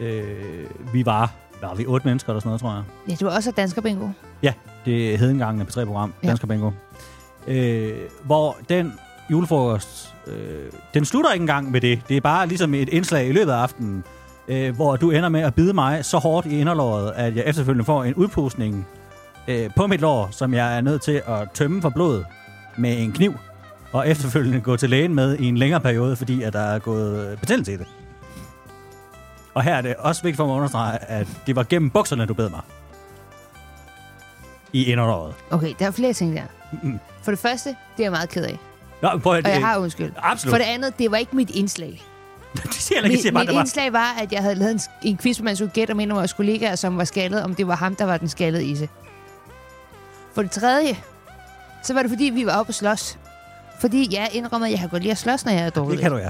S2: Øh, vi var, var vi otte mennesker eller sådan noget, tror jeg.
S3: Ja, det var også dansker bingo.
S2: Ja, det hed engang et P3-program,
S3: Ja.
S2: Dansker Bingo. Øh, hvor den julefrokost, øh, den slutter ikke engang med det. Det er bare ligesom et indslag i løbet af aftenen, øh, hvor du ender med at bide mig så hårdt i inderlåret, at jeg efterfølgende får en udpustning øh, på mit lår, som jeg er nødt til at tømme for blod med en kniv, og efterfølgende gå til lægen med i en længere periode, fordi at der er gået øh, betændelse i det. Og her er det også vigtigt for mig at understrege, at det var gennem bukserne, du bed mig. i inderøjet.
S3: Okay, der er flere ting der. For det første, det er jeg meget ked af.
S2: Nå, prøv at,
S3: Og jeg har undskyld.
S2: Absolut.
S3: For det andet, det var ikke mit indslag.
S2: det siger jeg heller ikke, jeg
S3: Mit,
S2: siger bare,
S3: mit
S2: der var...
S3: indslag var, at jeg havde lavet en, sk- en quiz, hvor man skulle gætte om en af vores kollegaer, som var skaldet, om det var ham, der var den skaldede isse. For det tredje, så var det fordi, vi var oppe at slås. Fordi jeg indrømmer, at jeg har godt lide at slås, når jeg er dårlig.
S2: Det kan du, ja.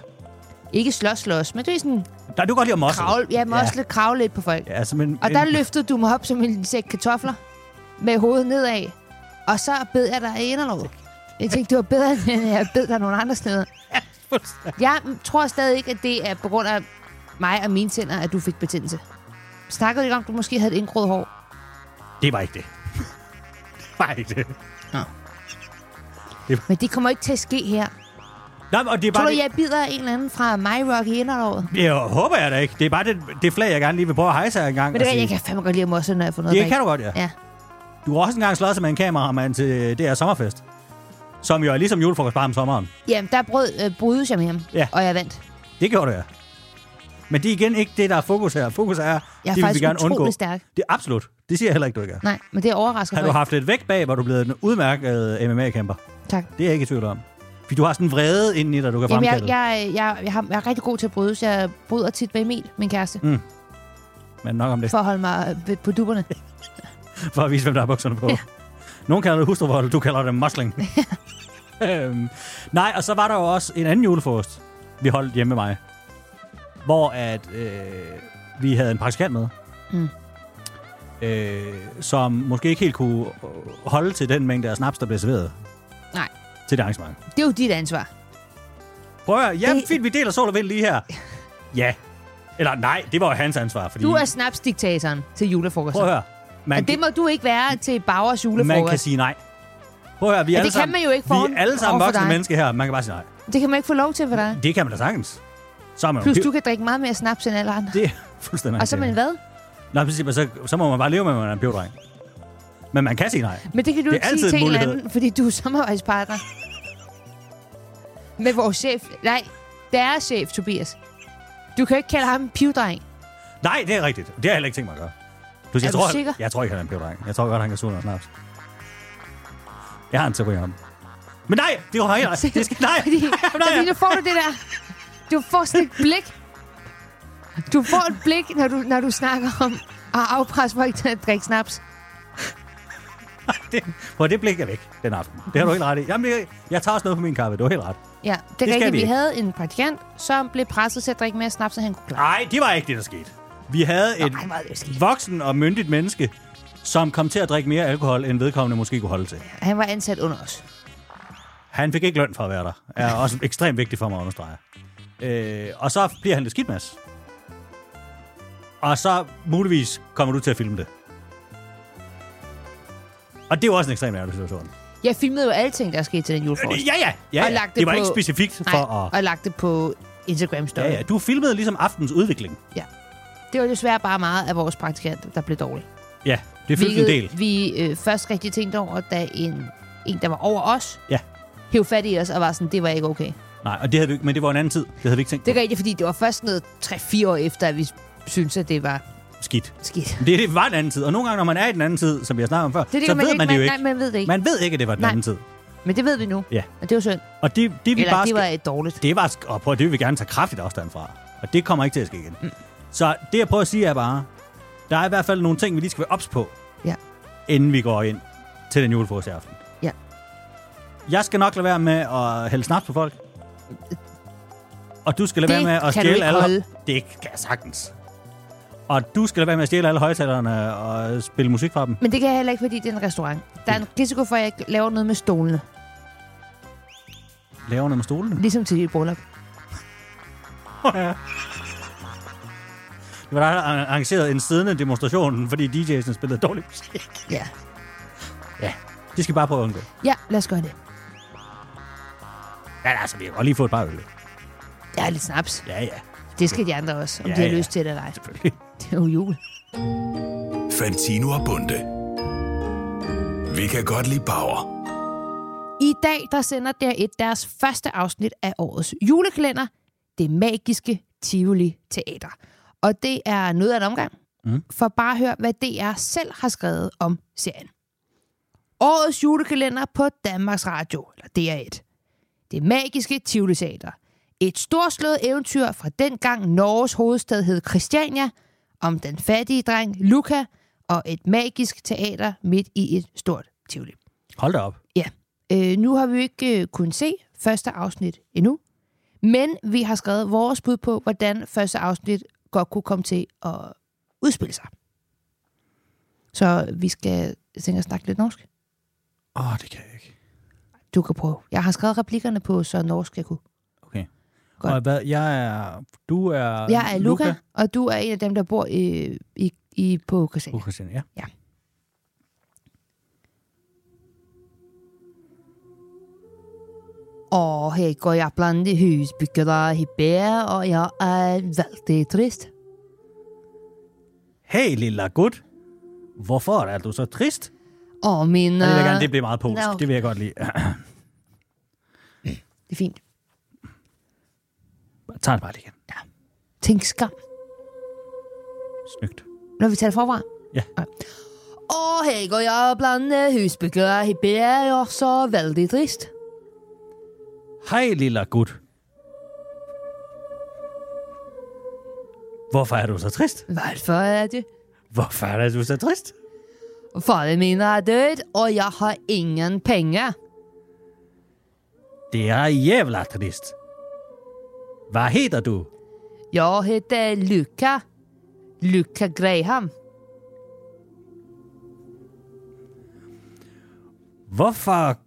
S3: Ikke slås, slås, men det er sådan
S2: Der, du kan godt lide at mosse.
S3: kravle. Jeg må
S2: Ja.
S3: også lidt kravle lidt på folk.
S2: Ja, altså, som en,
S3: Og der
S2: en,
S3: løftede du mig op som en sæk kartofler med hovedet nedad. Og så bed jeg dig i inderlovet. Jeg tænkte, det var bedre, end jeg bed dig nogle andre steder. Jeg tror stadig ikke, at det er på grund af mig og mine tænder, at du fik betændelse. Snakkede du ikke om, at du måske havde et indgrået hår?
S2: Det var ikke det. det var ikke det.
S3: Men det kommer ikke til at ske her.
S2: Nå, men, og det er bare
S3: Tror du,
S2: det,
S3: jeg bider en eller anden fra My Rock i inderlovet?
S2: jeg... håber jeg da ikke. Det er bare det, det flag, jeg gerne lige vil prøve at hejse her en gang.
S3: Men
S2: og
S3: det er,
S2: sige-
S3: jeg kan fandme godt lide at mosse, når jeg får noget
S2: Det
S3: bag.
S2: kan du godt, Altså- ja.
S3: Ja.
S2: Du har også engang slået sig med en kameramand til det her sommerfest. Som jo er ligesom julefrokost bare om sommeren.
S3: Jamen, der brød, øh, brydes jeg med ham,
S2: Ja.
S3: og jeg vandt.
S2: Det gjorde du, ja. Men det er igen ikke det, der er fokus her. Fokus er,
S3: Jeg er
S2: det vil vi
S3: faktisk
S2: gerne
S3: utrolig
S2: undgå.
S3: stærk.
S2: Det er absolut. Det siger jeg heller ikke, du ikke er.
S3: Nej, men det overrasker
S2: Har
S3: mig.
S2: du
S3: ikke.
S2: haft lidt vægt bag, hvor du er blevet en udmærket øh, MMA-kæmper?
S3: Tak.
S2: Det er jeg ikke i tvivl om. Fordi du har sådan en vrede inden i dig, du kan
S3: Jamen, jeg,
S2: fremkalde.
S3: jeg, jeg, jeg, har, jeg er rigtig god til at brydes. Jeg bryder tit med Emil, min kæreste, mm.
S2: Men nok om det,
S3: for at holde mig øh, ved- på dupperne.
S2: for at vise, hvem der har bukserne på. Nogen kalder det hustruvold, du kalder det musling. øhm, nej, og så var der jo også en anden julefrokost, vi holdt hjemme med mig. Hvor at, øh, vi havde en praktikant med. Mm. Øh, som måske ikke helt kunne øh, holde til den mængde af snaps, der blev serveret
S3: Nej,
S2: til det arrangement.
S3: det er jo dit ansvar.
S2: Prøv at høre, ja,
S3: Det-
S2: fint, vi deler sol og vind lige her. Ja. Eller nej, det var jo hans ansvar, fordi...
S3: Du er snapsdiktatoren til
S2: Mm.
S3: julefrokosten.
S2: Prøv at høre. Man,
S3: Og det må du ikke være til Bauers julefrokost.
S2: man kan sige nej. Prøv at høre, vi er
S3: Ja, det
S2: alle
S3: kan
S2: sammen,
S3: man jo
S2: vi
S3: ikke foran-
S2: er alle sammen
S3: overfor
S2: voksne
S3: dig.
S2: mennesker her. Man kan bare sige nej.
S3: Det kan man ikke få lov til for dig.
S2: Det kan man da sagtens. Så er man jo-
S3: Plus,
S2: det,
S3: du kan drikke meget mere snaps end alle andre.
S2: Det er fuldstændig
S3: Og så men
S2: rigtigt.
S3: hvad?
S2: Nå, i princippet, så, så må man bare leve med, at man er en pivdreng. Men man kan sige nej.
S3: Men det kan du
S2: Det er
S3: ikke sige
S2: altid
S3: til
S2: en
S3: en eller
S2: mulighed.
S3: anden, fordi du er samarbejdspartner. Med vores chef. Nej, deres chef, Tobias. Du kan jo ikke kalde ham en pivdreng.
S2: Nej, det er rigtigt. Det har jeg heller ikke tænkt mig at gøre. Plus,
S3: Er
S2: jeg
S3: du
S2: tror,
S3: sikker?
S2: Jeg tror ikke, han er en pivdreng. Jeg tror godt, han kan suge noget snaps. Jeg har en teori om ham. Men nej, det var helt ret. Det skal, nej,
S3: Fordi,
S2: nej, nej,
S3: fordi nu får du det der... Du får sådan et blik. Du får et blik, når du, når du snakker om at afpresse folk til at drikke snaps.
S2: det, for det blik er væk den aften. Det har du helt ret i. Jamen, jeg, jeg tager også noget på min kaffe. Du har helt ret.
S3: Ja, det,
S2: skal
S3: er
S2: vi
S3: rigtigt. Vi
S2: ikke.
S3: havde en praktikant, som blev presset til at drikke mere snaps, end han kunne klare.
S2: Nej, det var ikke det, der skete. Vi havde et
S3: hvor er det skidt.
S2: voksen og myndigt menneske, som kom til at drikke mere alkohol, end vedkommende måske kunne holde til.
S3: Han var ansat under os.
S2: Han fik ikke løn for at være der. Er også ekstremt vigtigt for mig at understrege. Øh, og så bliver han lidt skidt, Mads. Og så muligvis kommer du til at filme det. Og det er jo også en ekstremt ærgerlig situation.
S3: Jeg filmede jo alting, der skete til den julefrokost.
S2: Ja, ja. ja,
S3: Og
S2: ja.
S3: lagt det
S2: Det var
S3: på-
S2: ikke specifikt for
S3: Nej,
S2: at...
S3: og lagt det på Instagram story.
S2: Ja, ja. Du filmede ligesom aftens udvikling.
S3: Det var desværre bare meget af vores praktikant, der blev dårlig.
S2: Ja, det fyldte en del.
S3: vi øh, først rigtig tænkte over, da en, en, der var over os,
S2: Ja.
S3: hæv fat i os og var sådan, det var ikke okay.
S2: Nej, og det havde vi, ikke- men det var en anden tid. Det havde vi ikke tænkt
S3: Det er rigtigt, fordi det var først noget 3-4 år efter, at vi synes at det var
S2: på. Skidt.
S3: skidt.
S2: Det, det var en anden tid, og nogle gange, når man er i den anden tid, som jeg snakkede om før,
S3: Det er det,
S2: så
S3: man
S2: ved
S3: ikke,
S2: man det jo
S3: man-
S2: ikke.
S3: nej, man ved det ikke.
S2: Man ved ikke, at det var den
S3: Nej.
S2: anden tid.
S3: Men det ved vi nu,
S2: Ja.
S3: og det var synd.
S2: Og det, det vi
S3: Eller
S2: bare
S3: det var
S2: skal,
S3: øh, dårligt.
S2: det var, sk- og prøv, at- det vil vi gerne tage kraftigt afstand fra. Og det kommer ikke til at ske igen. Mm. Så det, jeg prøver at sige, er bare, der er i hvert fald nogle ting, vi lige skal være ops på,
S3: Ja.
S2: inden vi går ind til den julefrokost i aften.
S3: Ja.
S2: Jeg skal nok lade være med at hælde snaps på folk. Og du skal lade
S3: Det
S2: være med
S3: kan
S2: at
S3: du
S2: stjæle
S3: ikke
S2: alle...
S3: holde.
S2: Det kan jeg sagtens. Og du skal lade være med at stjæle alle højtalerne og spille musik fra dem.
S3: Men det kan jeg heller ikke, fordi det er en restaurant. Der er en risiko for, at jeg ikke laver noget med stolene.
S2: Laver noget med stolene.
S3: Ligesom til dit bryllup.
S2: Det var der, der arrangerede en siddende demonstration, fordi DJ'sen spillede dårligt musik.
S3: Ja.
S2: Ja, det skal vi bare prøve at undgå.
S3: ja, lad os gøre det.
S2: Ja, altså, vi kan godt lige få et par øl.
S3: Jeg er lidt snaps.
S2: Ja, ja,
S3: Det skal de andre også, om
S2: Ja,
S3: ja, de har
S2: ja.
S3: ja. lyst til det eller ej.
S2: selvfølgelig.
S3: Det er jo jul.
S1: Fantino og Bunde. Vi kan godt lide Bauer.
S3: I dag der sender der et deres første afsnit af årets julekalender, Det Magiske Tivoli Teater. Og det er noget af en omgang, mm. for bare hør, hvad DR selv har skrevet om serien. årets julekalender på Danmarks Radio, eller DR1. Det magiske Tivoli Teater. Et storslået eventyr fra dengang Norges hovedstad hed Christiania, om den fattige dreng Luca og et magisk teater midt i et stort Tivoli.
S2: Hold da op.
S3: Ja, øh, nu har vi jo ikke øh, kunnet se første afsnit endnu, men vi har skrevet vores bud på, hvordan første afsnit godt kunne komme til at udspille sig. Så vi skal tænke at snakke lidt norsk.
S2: Åh, oh, det kan jeg ikke.
S3: Du kan prøve. Jeg har skrevet replikkerne på, så norsk jeg kunne.
S2: Okay.
S3: Godt.
S2: Godt. Og hvad, jeg er... Du er...
S3: Jeg er Luca, og du er en af dem, der bor i, i, i på Christiania.
S2: Uh, Christian, ja.
S3: Og her går jeg blandt de husbyggere i bær, og jeg er vældig trist.
S2: Hey, lille gut. Hvorfor er du så trist?
S3: Og min...
S2: Jeg vil
S3: øh,
S2: gerne, det bliver meget polsk.
S3: Nå, okay.
S2: Det vil jeg godt lide.
S3: Det er fint.
S2: Tag det bare lige igen.
S3: Tænk skam.
S2: Snygt.
S3: Når vi taler forfra?
S2: Ja.
S3: Og her går jeg blandt øh, husbyggere i bær, og så er vældig trist.
S2: Hej, lille gut. Hvorfor er du så trist?
S3: Hvorfor er det?
S2: Hvorfor er du så trist?
S3: Faren min er død, og jeg har ingen penge.
S2: Det er jævla trist. Hvad hedder du?
S3: Jeg hedder Luca. Luca Graham.
S2: Hvorfor...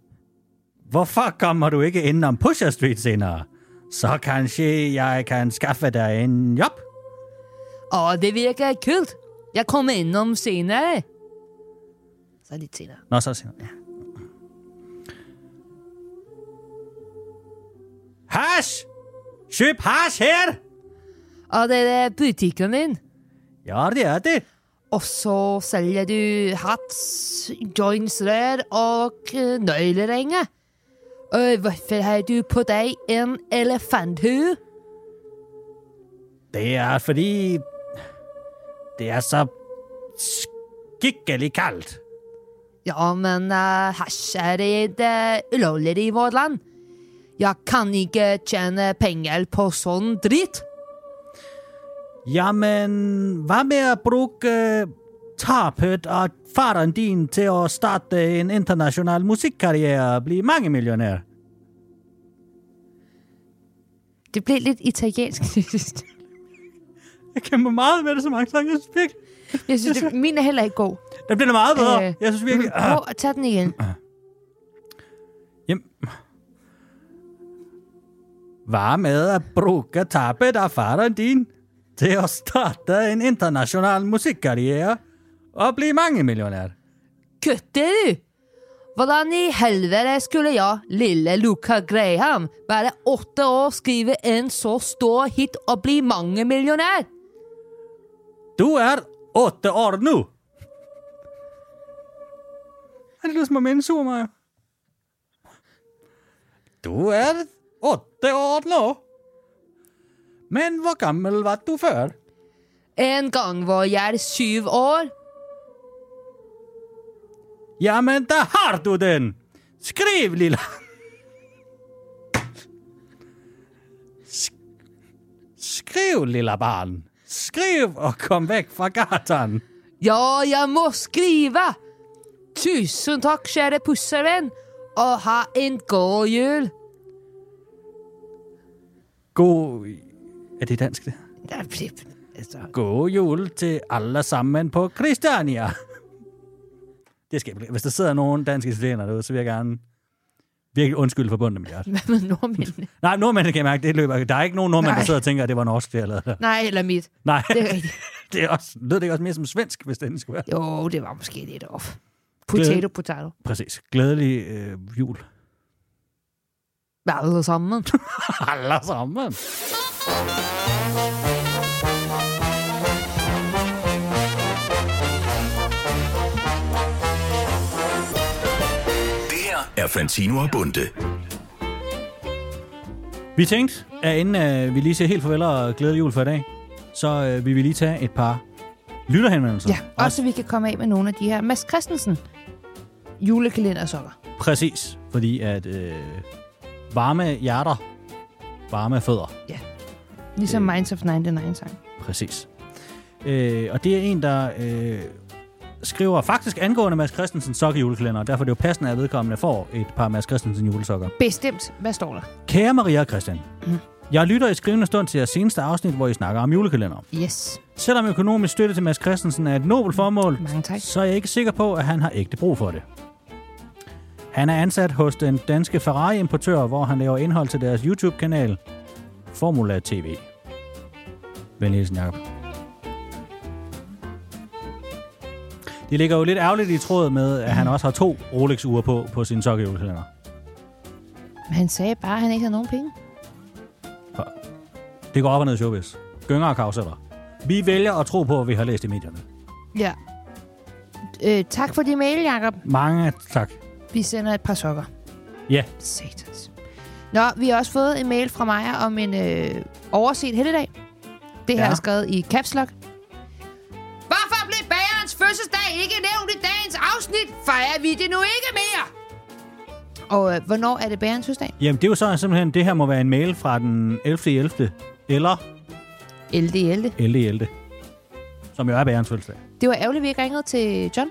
S2: Hvorfor kommer du ikke ind om Pusher Street senere? Så kanskje jeg kan skaffe dig en job.
S3: Og det virker kult. Jeg kommer indenom senere. Så lidt senere.
S2: Nå, så senere. Ja. Hash! Køb hash her!
S3: Og det er butikken din.
S2: Ja, det er det.
S3: Og så sælger du hats, jointsrør og øh, nøgleringe. Og hvorfor har du på dig en elefanthue?
S2: Det er fordi... Det er så skikkelig kaldt.
S3: Ja, men uh, hash er det eh, ulovligt i vårt land. Jeg kan ikke tjene penger på sånn dritt.
S2: Jamen, hvad med at bruge tabet af faren din til at starte en international musikkarriere og blive mange millionær?
S3: Det blev lidt italiensk til sidst.
S2: Jeg kæmper meget med det så mange sange, jeg synes virkelig.
S3: Jeg synes, det, min er heller ikke god.
S2: Det bliver da meget bedre.
S3: Øh,
S2: Øh, jeg synes virkelig...
S3: men Prøv at tage den igen.
S2: Jamen. Hvad med at bruge tabet af faren din til at starte en international musikkarriere og blive mange millionær?
S3: Kutter du? Hvordan i helvete skulle jeg, lille Luca Graham, være åtte år, skrive en så stor hit og bli mange millionær?
S2: Du er otte år nu. Det lyder som om en sur mig. Du er otte år nu. Men hvor gammel var du før?
S3: En gang var jeg syv år.
S2: Jamen, der har du den! Skriv, lille... Sk- Skriv, lille barn. Skriv og kom væk fra gatan.
S3: Ja, jeg må skrive. Tusen takk, kjære pussevenn, og ha en god jul.
S2: God... Er det dansk, det her?
S3: Ja, pip, altså.
S2: God jul til alle sammen på Christiania. Det skal jeg blive. Hvis der sidder nogen danske italienere derude, så vil jeg gerne virkelig undskylde forbundet med jer.
S3: Hvad med nordmændene?
S2: Nej, nordmændene kan jeg mærke, det løber. Der er ikke nogen nordmænd,
S3: Nej.
S2: der sidder og tænker, at det var norsk, det jeg lavede.
S3: Nej, eller mit.
S2: Nej,
S3: Det er rigtigt.
S2: det er også, lød det ikke også mere som svensk, hvis den skulle være?
S3: Jo, det var måske lidt off. Potato, potato.
S2: Præcis. Glædelig øh, jul.
S3: Vær alle sammen.
S2: Alle sammen.
S1: Det her er Fantino og Bunde.
S2: Vi tænkte, at inden øh, vi lige siger helt farvel og glædelig jul for i dag, så øh, vil vi lige tage et par lytterhenvendelser.
S3: Ja, også så vi kan komme af med nogle af de her. Mads Christensen julekalendersokker.
S2: Præcis, fordi at øh, varme hjerter, varme fødder.
S3: Ligesom
S2: Øh.
S3: Minds of 99-sang.
S2: Præcis. Øh, og det er en, der øh, skriver faktisk angående Mads Christensen sokke julekalender, og derfor er det jo passende, at vedkommende får et par Mads Christensen julesokker.
S3: Bestemt. Hvad står der?
S2: Kære Maria og Christian, jeg lytter i skrivende stund til jeres seneste afsnit, hvor I snakker om julekalender.
S3: Yes.
S2: Selvom økonomisk støtte til Mads Christensen er et nobelt formål,
S3: Mange tak.
S2: så er jeg ikke sikker på, at han har ægte brug for det. Han er ansat hos den danske Ferrari-importør, hvor han laver indhold til deres YouTube-kanal, Formula TV. Vel hilsen, Jacob. Det ligger jo lidt ærgerligt i tråd med, at han også har to Rolex-ure på på sin sokkejulekalender.
S3: Men han sagde bare, at han ikke havde nogen penge.
S2: Det går op og ned i showbiz. Gynger og karuseller. Vi vælger at tro på, at vi har læst i medierne.
S3: Ja. Øh, tak for din mail, Jacob.
S2: Mange tak.
S3: Vi sender et par sokker.
S2: Ja,
S3: Satans. Nå, vi har også fået en mail fra Maja om en øh, overset helligdag. Det her
S2: Ja.
S3: er skrevet i caps lock. Hvorfor blev bagerens fødselsdag ikke nævnt i dagens afsnit? Fejrer vi det nu ikke mere? Og øh, hvornår er det bagerens fødselsdag?
S2: jamen det er jo så simpelthen, det her må være en mail fra den 11.11. 11. eller
S3: 11.11.
S2: 11.11. Som jo er bærens fødselsdag.
S3: Det var ærgerligt, at vi ikke ringede til John.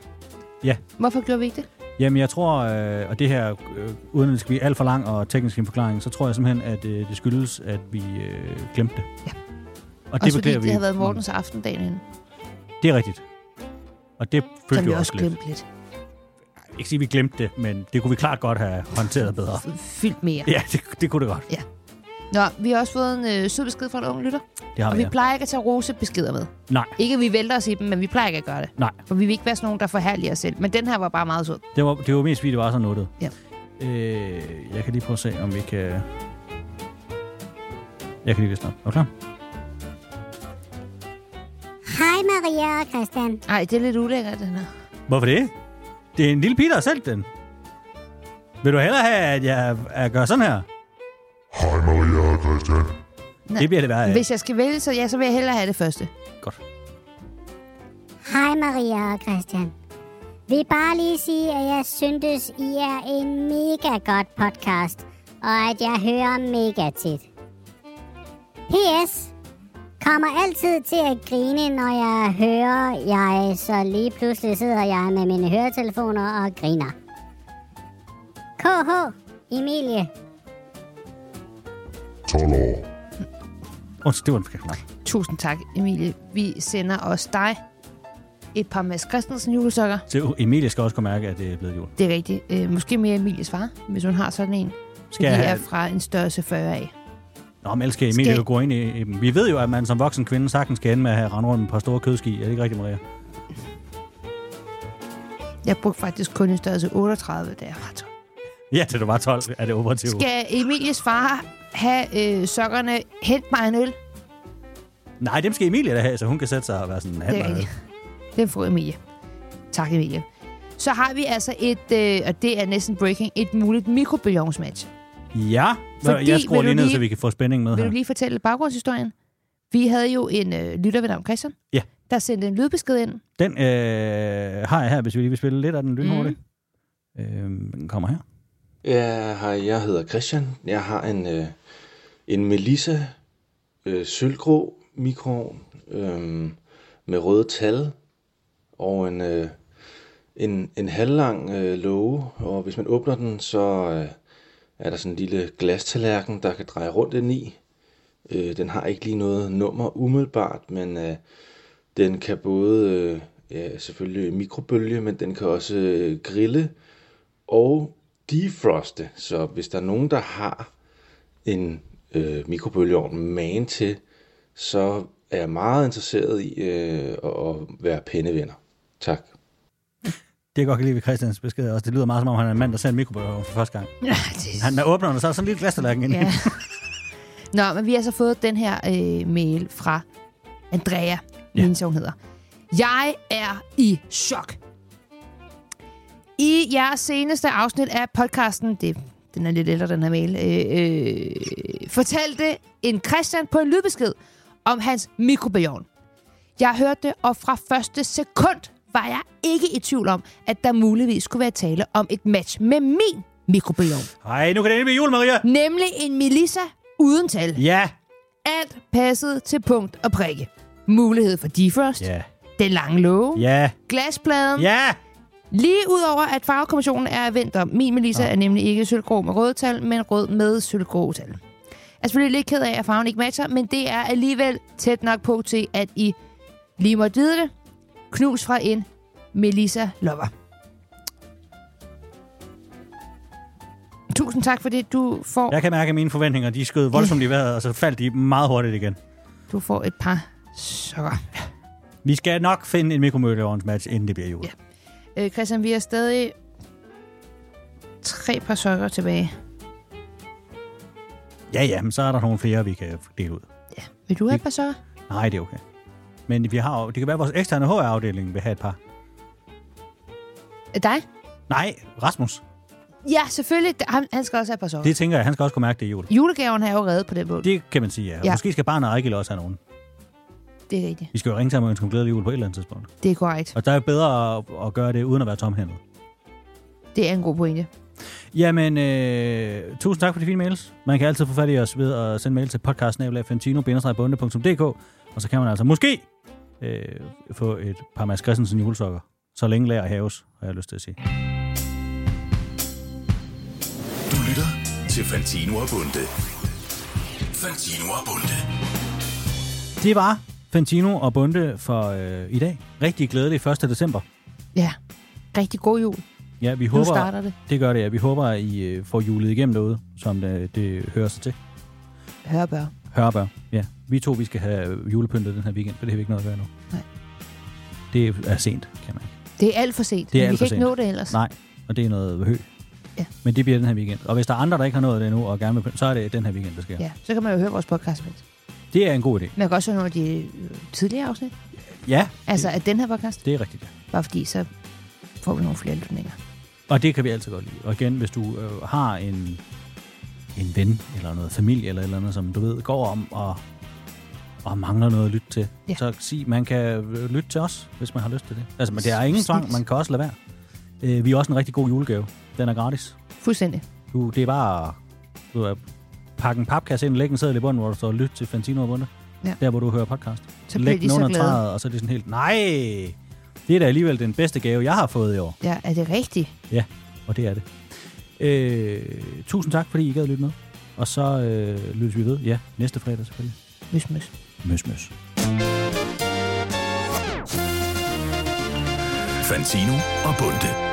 S2: Ja.
S3: Hvorfor gjorde vi ikke det?
S2: Jamen jeg tror, øh, og det her, øh, uden at det skal blive alt for lang og teknisk en forklaring, så tror jeg simpelthen, at øh, det skyldes, at vi øh, glemte det.
S3: Ja.
S2: Og det
S3: Også fordi
S2: beklager
S3: det
S2: vi.
S3: havde været Mortens aften dagen inden,
S2: Det er rigtigt. Og det følte
S3: som vi
S2: vi
S3: også
S2: også lidt.
S3: glemte lidt.
S2: Jeg vil Ikke sige, at vi glemte det, men det kunne vi klart godt have håndteret bedre.
S3: Fyldt mere.
S2: Ja, det, det kunne det godt.
S3: Nå, vi har også fået en øh, sød besked fra en ung lytter.
S2: Det har vi.
S3: Og vi
S2: ja.
S3: plejer ikke at tage rosebeskeder med.
S2: Nej,
S3: Ikke at vi vælter os i dem, men vi plejer ikke at gøre det.
S2: nej.
S3: For vi vil ikke være sådan nogen, der forhærliger os selv. Men den her var bare meget sød.
S2: Det var, det var mest fordi, det var så nuttet.
S3: Ja.
S2: Øh, jeg kan lige prøve at se, om vi kan... Jeg kan lige vise noget. Er du klar?
S5: Hej Maria og Christian.
S3: Nej, det er lidt ulækkert, den her.
S2: Hvorfor det? Det er en lille pige, der har sendt den. Vil du hellere have, at jeg, jeg gør sådan her?
S6: Hej Maria og Christian.
S3: Nej.
S2: Det bliver det værre af.
S3: Hvis jeg skal vælge, så, ja, så vil jeg hellere have det første.
S2: Godt.
S5: Hej Maria og Christian. Vil bare lige sige, at jeg syntes, I er en mega godt podcast, og at jeg hører mega tit. P.S. Kommer altid til at grine, når jeg hører jeg, så lige pludselig sidder jeg med mine høretelefoner og griner. KH Emilie
S6: 12 år.
S2: Undskyld, det var en forkert knap.
S3: Tusind tak, Emilie. Vi sender også dig et par Mads Christensen julesokker.
S2: Så Emilie skal også kunne mærke, at det er blevet jul.
S3: Det er rigtigt. Øh, måske mere Emilies far, hvis hun har sådan en.
S2: Skal
S3: de
S2: jeg
S3: er
S2: have-
S3: fra en størrelse 40 af.
S2: Nå, men ellers skal Emilie
S3: Skal-
S2: jo gå ind i, i dem. Vi ved jo, at man som voksen kvinde sagtens skal ende med at have rende rundt med et par store kødski. Er det ikke rigtigt, Maria?
S3: Jeg brugte faktisk kun en størrelse 38, da jeg var 12.
S2: Ja, til du var 12, er det operativt.
S3: Skal Emilies far have øh, sokkerne? Hent mig en øl.
S2: Nej, dem skal Emilie da have, så hun kan sætte sig og være sådan...
S3: Det er rigtigt. Den får Emilie. Tak, Emilie. Så har vi altså et, øh, og det er næsten breaking, et muligt mikrobølgeovnsmatch.
S2: Ja,
S3: Fordi
S2: Fordi, jeg skruer
S3: vil du
S2: lige ned,
S3: lige-
S2: så vi kan få spænding med
S3: Vil du
S2: her.
S3: lige fortælle baggrundshistorien? Vi havde jo en øh, lytter ved navn Christian,
S2: Ja.
S3: der sendte en lydbesked ind.
S2: Den øh, har jeg her, hvis vi lige vil spille lidt af den lynhurtigt.
S3: Mhm.
S2: Mm. Øh, den kommer her.
S7: Ja, hej, jeg hedder Christian. Jeg har en, øh, en Melissa øh, sølvgrå mikroovn øh, med røde tal og en, øh, en, en halvlang øh, låge. Og hvis man åbner den, så øh, er der sådan en lille glastallerken, der kan dreje rundt ind i. Øh, den har ikke lige noget nummer umiddelbart, men øh, den kan både øh, ja, selvfølgelig mikrobølge, men den kan også øh, grille og defroste. Så hvis der er nogen, der har en øh, mikrobølgeovn magen til, så er jeg meget interesseret i øh, at, at være pennevenner. Tak.
S2: Det jeg godt kan lide ved Christians besked også. Det lyder meget som om, han er en mand, der ser en mikrobølgeovn for første gang.
S3: Ja, det...
S2: Han er åbner, den, og så er der sådan en lille glastallerken inde.
S3: Ja. Nå, men vi har så fået den her øh, mail fra Andrea,
S2: Ja.
S3: ja. min hun hedder. Jeg er i chok. I jeres seneste afsnit af podcasten, det, den er lidt ældre, den her mail, øh, øh, fortalte en Christian på en lydbesked om hans mikrobølgeovn. Jeg hørte det, og fra første sekund var jeg ikke i tvivl om, at der muligvis skulle være tale om et match med min mikrobiom.
S2: Ej, nu kan det endelig blive jul, Maria.
S3: Nemlig en Melissa uden tal.
S2: Ja.
S3: Alt passede til punkt og prikke. Mulighed for defrost,
S2: Ja.
S3: den lange låge,
S2: Ja.
S3: glaspladen.
S2: Ja.
S3: Lige udover at farvekommissionen er vendt om. Min Melissa er nemlig ikke sølvgrå med røde tal, men rød med sølvgrå tal. Jeg er selvfølgelig lidt ked af, at farven ikke matcher, men det er alligevel tæt nok på til, at I lige måtte vide det. Knus fra en Melissa Lover. Tusind tak for det. Du får, ja.
S2: Jeg kan mærke, at mine forventninger, de skød voldsomt i vejret, og så faldt de meget hurtigt igen.
S3: du får et par sokker.
S2: Vi skal nok finde en mikromølleovnsmatch, inden det bliver jul.
S3: Ja. Øh, Christian, vi har stadig tre par sokker tilbage.
S2: Ja, ja, men så er der nogle flere, vi kan dele ud.
S3: Ja. Vil du have et par sokker?
S2: Nej, det er okay. Men vi har jo, det kan være, at vores eksterne HR-afdeling vil have et par.
S3: Øh, Dig?
S2: Nej, Rasmus.
S3: Ja, selvfølgelig. Han, han skal også have et par sokker.
S2: Det tænker jeg, han skal også kunne mærke det i jul.
S3: Julegaven har jeg jo reddet på den måde. Det,
S2: Det kan man sige, ja. ja.
S3: Ja.
S2: Måske skal barnet og Ejgil også have nogen.
S3: det er rigtigt.
S2: Vi skal jo ringe sammen og ønske dem glædelig jul på et eller andet tidspunkt.
S3: Det er korrekt.
S2: Og der er bedre at, at gøre det, uden at være tomhændet.
S3: Det er en god pointe.
S2: Jamen, øh, tusind tak for de fine mails. Man kan altid få fat i os ved at sende mail til podcast-fentino-bunde.dk og så kan man altså måske øh, få et par Mads Christensen julesokker. Så længe lager haves, har jeg lyst til at sige.
S1: Du lytter til Fantino og Bunde. Fantino og Bunde.
S2: Det var Fantino og Bunde for øh, i dag. Rigtig glædelig 1. december.
S3: Ja. Rigtig god jul.
S2: Ja, vi
S3: Nu
S2: håber,
S3: starter det.
S2: det gør det, ja. Vi håber, at I øh, får julet igennem noget, som det, det hører sig til.
S3: Hør bør.
S2: Hørbær, ja. Vi to, vi skal have julepyntet den her weekend, for det har vi ikke noget at gøre nu.
S3: Nej.
S2: Det er sent, kan man ikke.
S3: Det er alt for sent.
S2: Det er
S3: vi
S2: alt
S3: kan
S2: for
S3: ikke nå
S2: sent.
S3: det ellers.
S2: Nej, og det er noget hø.
S3: Ja.
S2: Men det bliver den her weekend. Og hvis der er andre, der ikke har nået det endnu, og gerne vil pynte, så er det den her weekend, der sker.
S3: Ja, så kan man jo høre vores podcast. imens.
S2: Det er en god idé.
S3: Man kan også høre nogle af de øh, tidligere afsnit.
S2: Ja,
S3: Altså af den her podcast.
S2: det, det er rigtigt, ja.
S3: Bare fordi, så får vi nogle flere lytninger.
S2: Og det kan vi altid godt lide. Og igen, hvis du øh, har en, en ven, eller noget familie, eller et eller andet, som du ved går om og, og mangler noget at lytte til,
S3: Ja.
S2: så sig, man kan øh, lytte til os, hvis man har lyst til det. Altså, men det er ingen tvang,
S3: Snilt.
S2: man kan også lade være. Øh, vi er også en rigtig god julegave. Den er gratis.
S3: Fuldstændig.
S2: Du, det er bare du er, pakke en papkasse ind, læg en seddel i bunden, hvor der står lyt til Fantino og Bunde.
S3: Ja.
S2: Der, hvor du hører podcast.
S3: Så bliver
S2: læg
S3: de
S2: den
S3: så
S2: under
S3: glade.
S2: træet, og så er det sådan helt, nej, det er da alligevel den bedste gave, jeg har fået i år.
S3: Ja, er det rigtigt?
S2: Ja, og det er det. Øh, tusind tak, fordi I gad lytte med. Og så øh, lyttes vi ved, ja, næste fredag selvfølgelig.
S3: Møs, møs.
S2: Møs, møs.
S1: Fantino og Bunde.